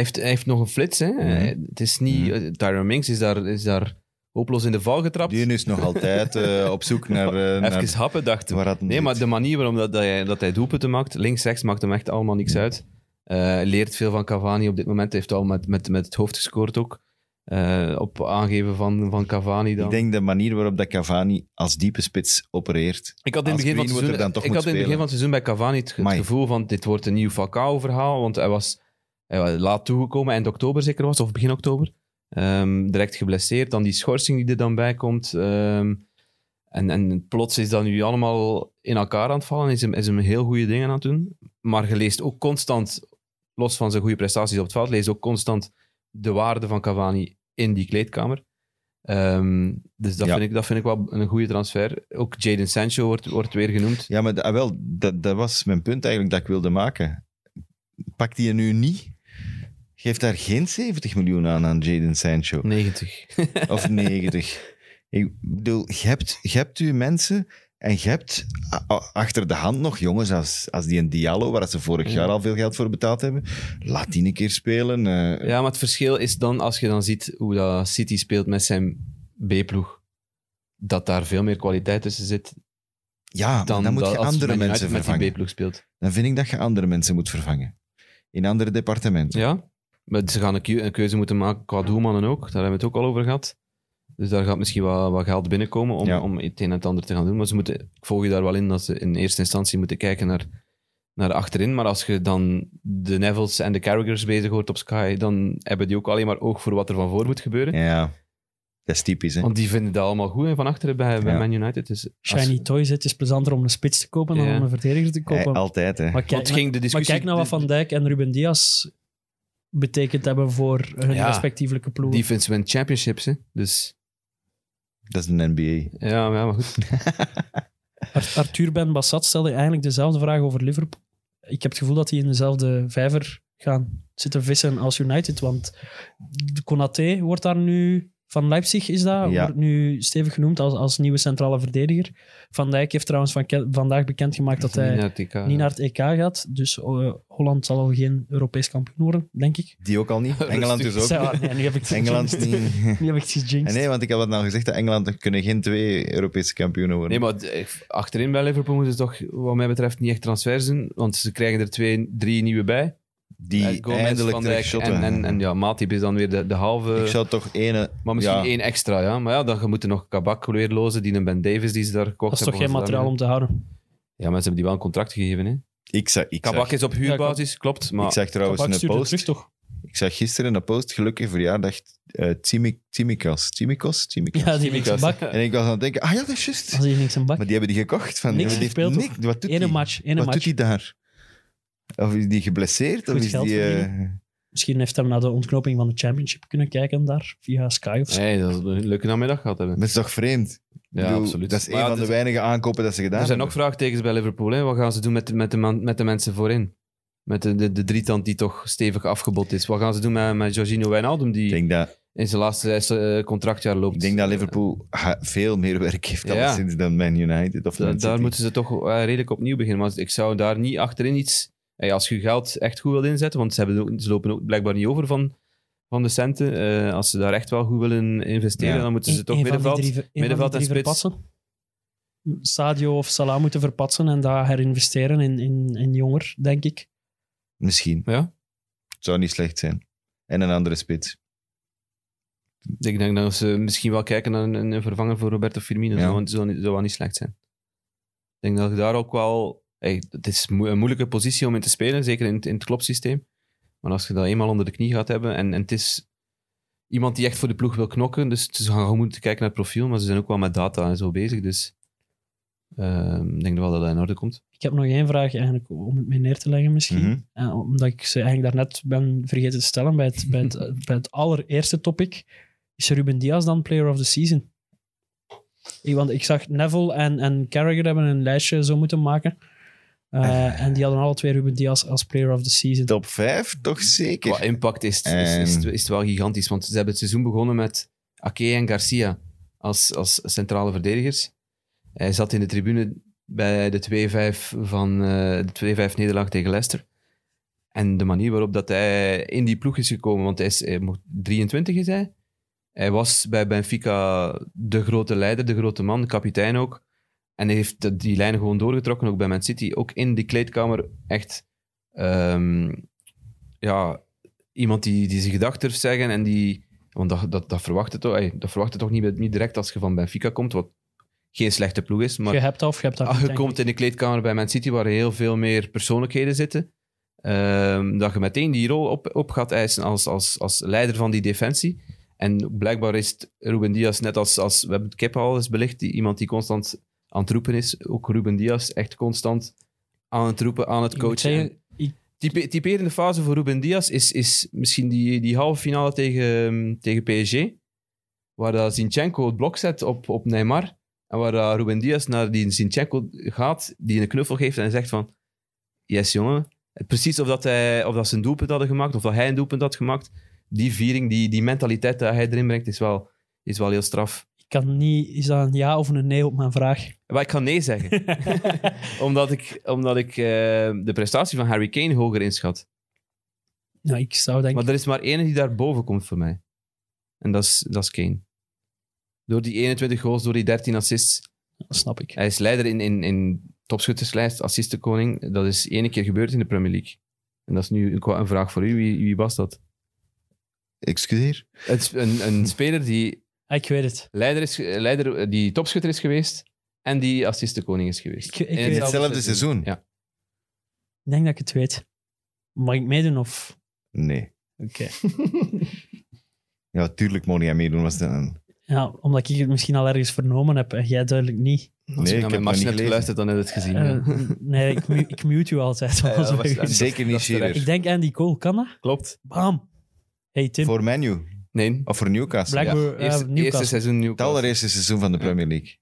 heeft, hij heeft nog een flits, hè? Mhm. Het is niet... Mhm. eh, Tyrone Minks is daar, is daar hopeloos in de val getrapt. Die is nog altijd eh, op zoek naar... eh, naar Even happen, dacht ik. waar dat hem Nee, zit. maar de manier waarom dat, dat hij, dat hij doelpunten maakt, links, rechts, maakt hem echt allemaal Mhm. niks uit. Eh, leert veel van Cavani op dit moment. Hij heeft al met, met, met het hoofd gescoord ook. Eh, op aangeven van, van Cavani dan. Ik Ik, denk de manier waarop dat Cavani als diepe spits opereert. had in het als begin van Greenwood er het seizoen, dan toch ik moet had in het begin spelen. van het seizoen bij Cavani het, het Amai. gevoel van dit wordt een nieuw Falcao-verhaal, want hij was, hij was laat toegekomen, eind oktober zeker was, of begin oktober. Ehm, direct geblesseerd, dan die schorsing die er dan bij komt. Ehm, en, en plots is dat nu allemaal in elkaar aan het vallen. Is hem, is hem heel goede dingen aan het doen. Maar je leest ook constant, los van zijn goede prestaties op het veld, lees je ook constant de waarde van Cavani in die kleedkamer. Ehm, dus dat, Ja. vind ik, dat vind ik wel een goede transfer. Ook Jaden Sancho wordt, wordt weer genoemd. Ja, maar d- ah, wel, dat, dat was mijn punt eigenlijk dat ik wilde maken. Pak die nu niet. Geef daar geen 70 miljoen aan aan Jaden Sancho. 90. Of 90. Ik bedoel, je hebt, je hebt uw mensen en je hebt a- a- achter de hand nog jongens als, als die een Diallo, waar ze vorig Ja. jaar al veel geld voor betaald hebben. Laat die een keer spelen. eh. Ja, maar het verschil is dan, als je dan ziet hoe dat City speelt met zijn B-ploeg, dat daar veel meer kwaliteit tussen zit ja, maar dan, dan moet dat je als andere Man United mensen met die vervangen. B-ploeg speelt. Dan vind ik dat je andere mensen moet vervangen. In andere departementen. Ja, maar ze gaan een keu- een keuze moeten maken qua doelmannen ook. Daar hebben we het ook al over gehad. Dus daar gaat misschien wat, wat geld binnenkomen om, Ja. om het een en het ander te gaan doen. Maar ze moeten, ik volg je daar wel in dat ze in eerste instantie moeten kijken naar, naar achterin. Maar als je dan de Neville's en de Carragers bezig hoort op Sky, dan hebben die ook alleen maar oog voor wat er van voor moet gebeuren. Ja, dat is typisch, hè? Want die vinden dat allemaal goed en van achteren bij, bij Ja. Man United. Dus als- Shiny toys, het is plezanter om een spits te kopen dan Ja. om een verdediger te Hij- kopen. Eh, altijd, hè? maar, kijk, Want het ging de maar discussie, kijk nou wat Van Dijk en Ruben Diaz betekend hebben voor hun Ja. respectievelijke ploegen. Die vindt win championships, hè. Dus Dat is een NBA. ja, ja, maar goed. Ar- Arthur Ben Bassat stelde eigenlijk dezelfde vraag over Liverpool. Ik heb het gevoel dat die in dezelfde vijver gaan zitten vissen als United. Want de Konaté wordt daar nu van Leipzig is dat. Ja. Wordt nu stevig genoemd als, als nieuwe centrale verdediger. Van Dijk heeft trouwens van ke- vandaag bekendgemaakt dat eh, hij naar TK. niet naar het EK gaat. Dus eh, Holland zal al geen Europees kampioen worden, denk ik. Die ook al niet. Engeland dus ook. Zo, nee, nu heb ik het Engeland gejinxed. niet. Nu heb ik het gejinxed. En nee, want ik had het nou gezegd, dat Engeland kunnen geen twee Europese kampioenen worden. Nee, maar d- achterin bij Liverpool moeten ze toch, wat mij betreft, niet echt transfers doen. Want ze krijgen er twee, drie nieuwe bij. die Eh, Gomez, eindelijk Van Dijk terug shotten. En, en, en ja, Matip is dan weer de, de halve... ik zou toch ene... Maar misschien ja. één extra, ja. Maar ja, dan moeten nog Kabak weer lozen, die een Ben Davis die ze daar gekocht Dat is hebben. toch geen van materiaal om te houden. Ja, mensen hebben die wel een contract gegeven, hè. Ik zag, ik, Kabak zag, is op huurbasis, klopt. Maar ik zag trouwens Kabak een stuurde post. terug, toch? Ik zag gisteren een post, gelukkig verjaardag, eh Tsimi- Tsimikas. Tsimikas? Tsimikas. Ja, die niks een bak. En ik was aan het denken, ah ja, dat is juist. Als die niks een bak. Maar die hebben die gekocht. Van, Niks die heeft gespeeld, niks- Wat doet Ene die? match, ene Wat match. doet hij daar? Of is die geblesseerd? Goed of is geld die... eh, Misschien heeft hij naar de ontknoping van de Championship kunnen kijken daar, via Sky of zo. Nee, dat is een leuke namiddag gehad hebben. maar het is toch vreemd? Ik Ja, bedoel, absoluut. Dat is Maar een ja, van de er- weinige aankopen dat ze gedaan Er zijn ook hebben. vraagtekens bij Liverpool, hè. Wat gaan ze doen met de, met de, man- met de mensen voorin? Met de, de, de drietand die toch stevig afgebot is. Wat gaan ze doen met, met Jorginho Wijnaldum, die Ik denk dat in zijn laatste eh, contractjaar loopt? Ik denk dat Liverpool ha- veel meer werk heeft Ja. alleszins dan Man United of Da- Man Eh, daar City. moeten ze toch eh, redelijk opnieuw beginnen. Maar ik zou daar niet achterin iets... Hey, als je je geld echt goed wilt inzetten, want ze, hebben, ook- ze lopen ook blijkbaar niet over van, van de centen. eh, als ze daar echt wel goed willen investeren, Ja. dan moeten ze Eén- toch één van die middenveld... drie ver- één van middenveld die en drie spits. verpatsen. Sadio of Salah moeten verpatsen en daar herinvesteren in, in, in jonger, denk ik. Misschien. Ja, Het zou niet slecht zijn. En een andere spits. ik denk dat ze misschien wel kijken naar een, een vervanger voor Roberto Firmino. Ja. Dat zou, zou niet- zou wel niet slecht zijn. Ik denk dat je daar ook wel... hey, het is mo- een moeilijke positie om in te spelen, zeker in, het- in het klopsysteem. Maar als je dat eenmaal onder de knie gaat hebben, en, en het is iemand die echt voor de ploeg wil knokken, dus ze gaan gewoon moeten kijken naar het profiel, maar ze zijn ook wel met data en zo bezig, dus ehm, ik denk wel dat dat in orde komt. Ik heb nog één vraag eigenlijk om het mee neer te leggen misschien. Mhm. Eh, omdat ik ze eigenlijk daarnet ben vergeten te stellen bij het, bij het, bij het allereerste topic. Is Ruben Diaz dan player of the season? Ik- Want ik zag Neville en, en Carragher hebben een lijstje zo moeten maken. Eh, en die hadden alle twee Ruben Diaz als player of the season. Top 5, toch zeker? Qua impact is, het- is, is, het- En- is het wel gigantisch. Want ze hebben het seizoen begonnen met Ake en Garcia als, als centrale verdedigers. Hij zat in de tribune bij de 2-5 van eh, de 2-5 nederlaag tegen Leicester. En de manier waarop dat hij in die ploeg is gekomen, want hij is hij mocht- 23 is hij. Hij was bij Benfica de grote leider, de grote man, de kapitein ook. En hij heeft de- die lijn gewoon doorgetrokken, ook bij Man City. Ook in die kleedkamer echt ehm, ja, iemand die, die zijn gedachten durft zeggen en die... Want dat, dat, dat verwacht je toch, ey, dat verwacht je toch niet, niet direct als je van Benfica komt, wat geen slechte ploeg is. Maar je hebt dat of je hebt dat Ah, niet, je denk ik. komt in de kleedkamer bij Man City, waar heel veel meer persoonlijkheden zitten. Ehm, dat je meteen die rol op, op gaat eisen als, als, als leider van die defensie. En blijkbaar is het Ruben Diaz, net als, als we hebben het Kepa al eens belicht, die, iemand die constant aan het roepen is. Ook Ruben Diaz, echt constant aan het roepen, aan het Ik moet coachen. zeggen, En ik- type- typerende fase voor Ruben Diaz is, is misschien die, die halve finale tegen, ehm, tegen PSG, waar dat Zinchenko het blok zet op, op Neymar. En waar eh, Ruben Diaz naar die Zinchenko gaat, die een knuffel geeft en zegt van... Yes, jongen. Precies of dat, hij, of dat ze een doelpunt hadden gemaakt, of dat hij een doelpunt had gemaakt. Die viering, die, die mentaliteit die hij erin brengt, is wel, is wel heel straf. Ik kan niet... Is dat een ja of een nee op mijn vraag? Maar ik kan nee zeggen, omdat ik, omdat ik eh, de prestatie van Harry Kane hoger inschat. nou, ik zou denken... Maar er is maar één die daar boven komt voor mij. En dat is, dat is Kane. Door die 21 goals, door die 13 assists, Dat snap ik. Hij is leider in, in, in topschutterslijst, assistenkoning. Dat is één keer gebeurd in de Premier League. En dat is nu een, qua- een vraag voor u. Wie, wie was dat? Excuseer. Het is een, een speler die, Ah, ik weet het. leider is, ge- leider, die topschutter is geweest en die assistenkoning is geweest. Ik, ik, In weet hetzelfde het. seizoen. Ja. ik denk dat ik het weet. Mag ik meedoen of... Nee. Oké. Ja, tuurlijk mocht jij meedoen. Was dat een... Ja, omdat ik het misschien al ergens vernomen heb en jij duidelijk niet. Als Nee, je ik naar heb mijn nog niet match hebt gelezen. geluisterd, dan heb je het gezien. Eh, ja. nee, ik, mu- ik mute u altijd. Ja, ja, als dat we- was- en Zeker dat- niet dat is Shearer. terecht. ik denk Andy Cole, kan dat? Klopt. Bam! Hey Tim, Voor Menu. Nee. Of voor Newcastle. Blijkbaar- Ja. eh, eerste, Newcastle. eerste seizoen Het Newcastle. allereerste seizoen van de Premier League.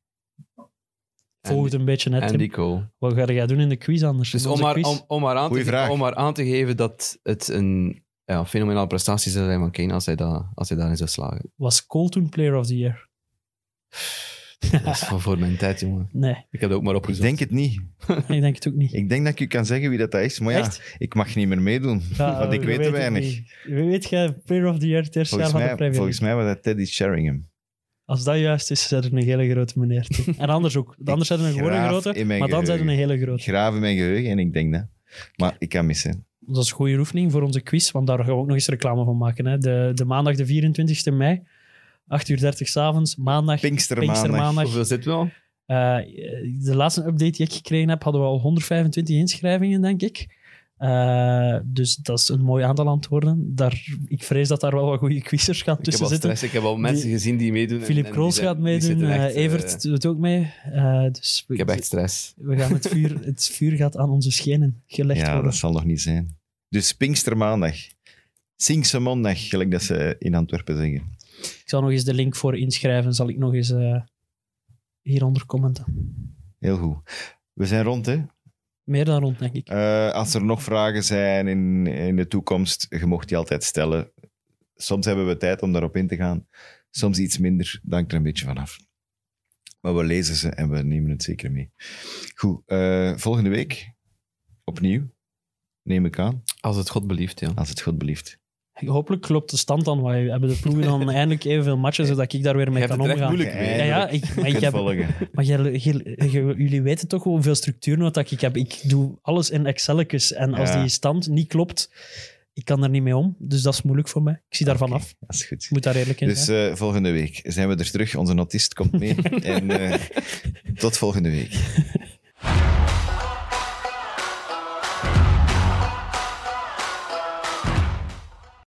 volg het een beetje net. En Tim. die goal. Wat ga jij doen in de quiz anders? Dus In onze om maar, quiz? om, om, maar aan Goeie te, vraag. om maar aan te geven dat het een ja, fenomenale prestaties dat hij van Kane als hij, dat, als hij daarin zou slagen. Was Cole toen Player of the Year? Dat is van voor mijn tijd, jongen. Nee, Ik heb dat ook maar Ik opgezocht. denk het niet. ik denk het ook niet. Ik denk dat ik u kan zeggen wie dat, dat is, maar ja, Echt? ik mag niet meer meedoen, Ja, want ik we weet te weten weinig. het niet. Weet jij Player of the Year het eerste jaar Volgens van de mij, Premier volgens League? mij was dat Teddy Sheringham. Als dat juist is, zijn er een hele grote meneer. toe. En anders ook. Anders zijn er een gewone graaf grote, in mijn maar dan zijn er een geheugen. hele grote. Ik graaf in mijn geheugen en ik denk dat. Maar ik kan missen. Dat is een goede oefening voor onze quiz, want daar gaan we ook nog eens reclame van maken. Hè. De, de maandag, de 24 mei, 8 uur 30 s'avonds, maandag. Pinkstermaandag. Pinkstermaandag. Hoeveel zit wel? Eh, de laatste update die ik gekregen heb, hadden we al 125 inschrijvingen, denk ik. Eh, dus dat is een mooi aantal antwoorden. Daar, ik vrees dat daar wel wat goede quizzers gaan Ik heb tussen al zitten. stress, ik heb al mensen Die- gezien die meedoen. en- en Philip die Kroos zijn- gaat die zitten meedoen, echt, eh, eh, Evert doet ook mee. Eh, dus we, ik heb echt stress. we gaan het, vuur, het vuur gaat aan onze schenen gelegd Ja, worden. dat zal nog niet zijn. Dus Pinkstermaandag. Singse Mondag, gelijk dat ze in Antwerpen zeggen. Ik zal nog eens de link voor inschrijven. Zal ik nog eens eh, hieronder commenten. Heel goed. We zijn rond, hè? Meer dan rond, denk ik. Eh, als er nog vragen zijn in, in de toekomst, je mocht die altijd stellen. Soms hebben we tijd om daarop in te gaan. Soms iets minder, dat hangt er een beetje vanaf. Maar we lezen ze en we nemen het zeker mee. Goed, eh, volgende week opnieuw, neem ik aan, Als het God belieft, ja. als het God belieft. Hopelijk klopt de stand dan. Want we hebben de ploegen dan eindelijk evenveel matchen, zodat ik daar weer mee Je hebt kan het echt omgaan. moeilijk mee. Ja, ja, ik, maar ik heb, volgen. maar jij- jij- jij- jullie weten toch hoeveel structuurnood dat ik heb. Ik doe alles in Excelletjes. En als Ja. die stand niet klopt, ik kan er niet mee om. Dus dat is moeilijk voor mij. Ik zie daarvan af. Dat is goed. Ik moet daar eerlijk in Dus zijn. eh, volgende week zijn we er terug. Onze notist komt mee. en eh, tot volgende week.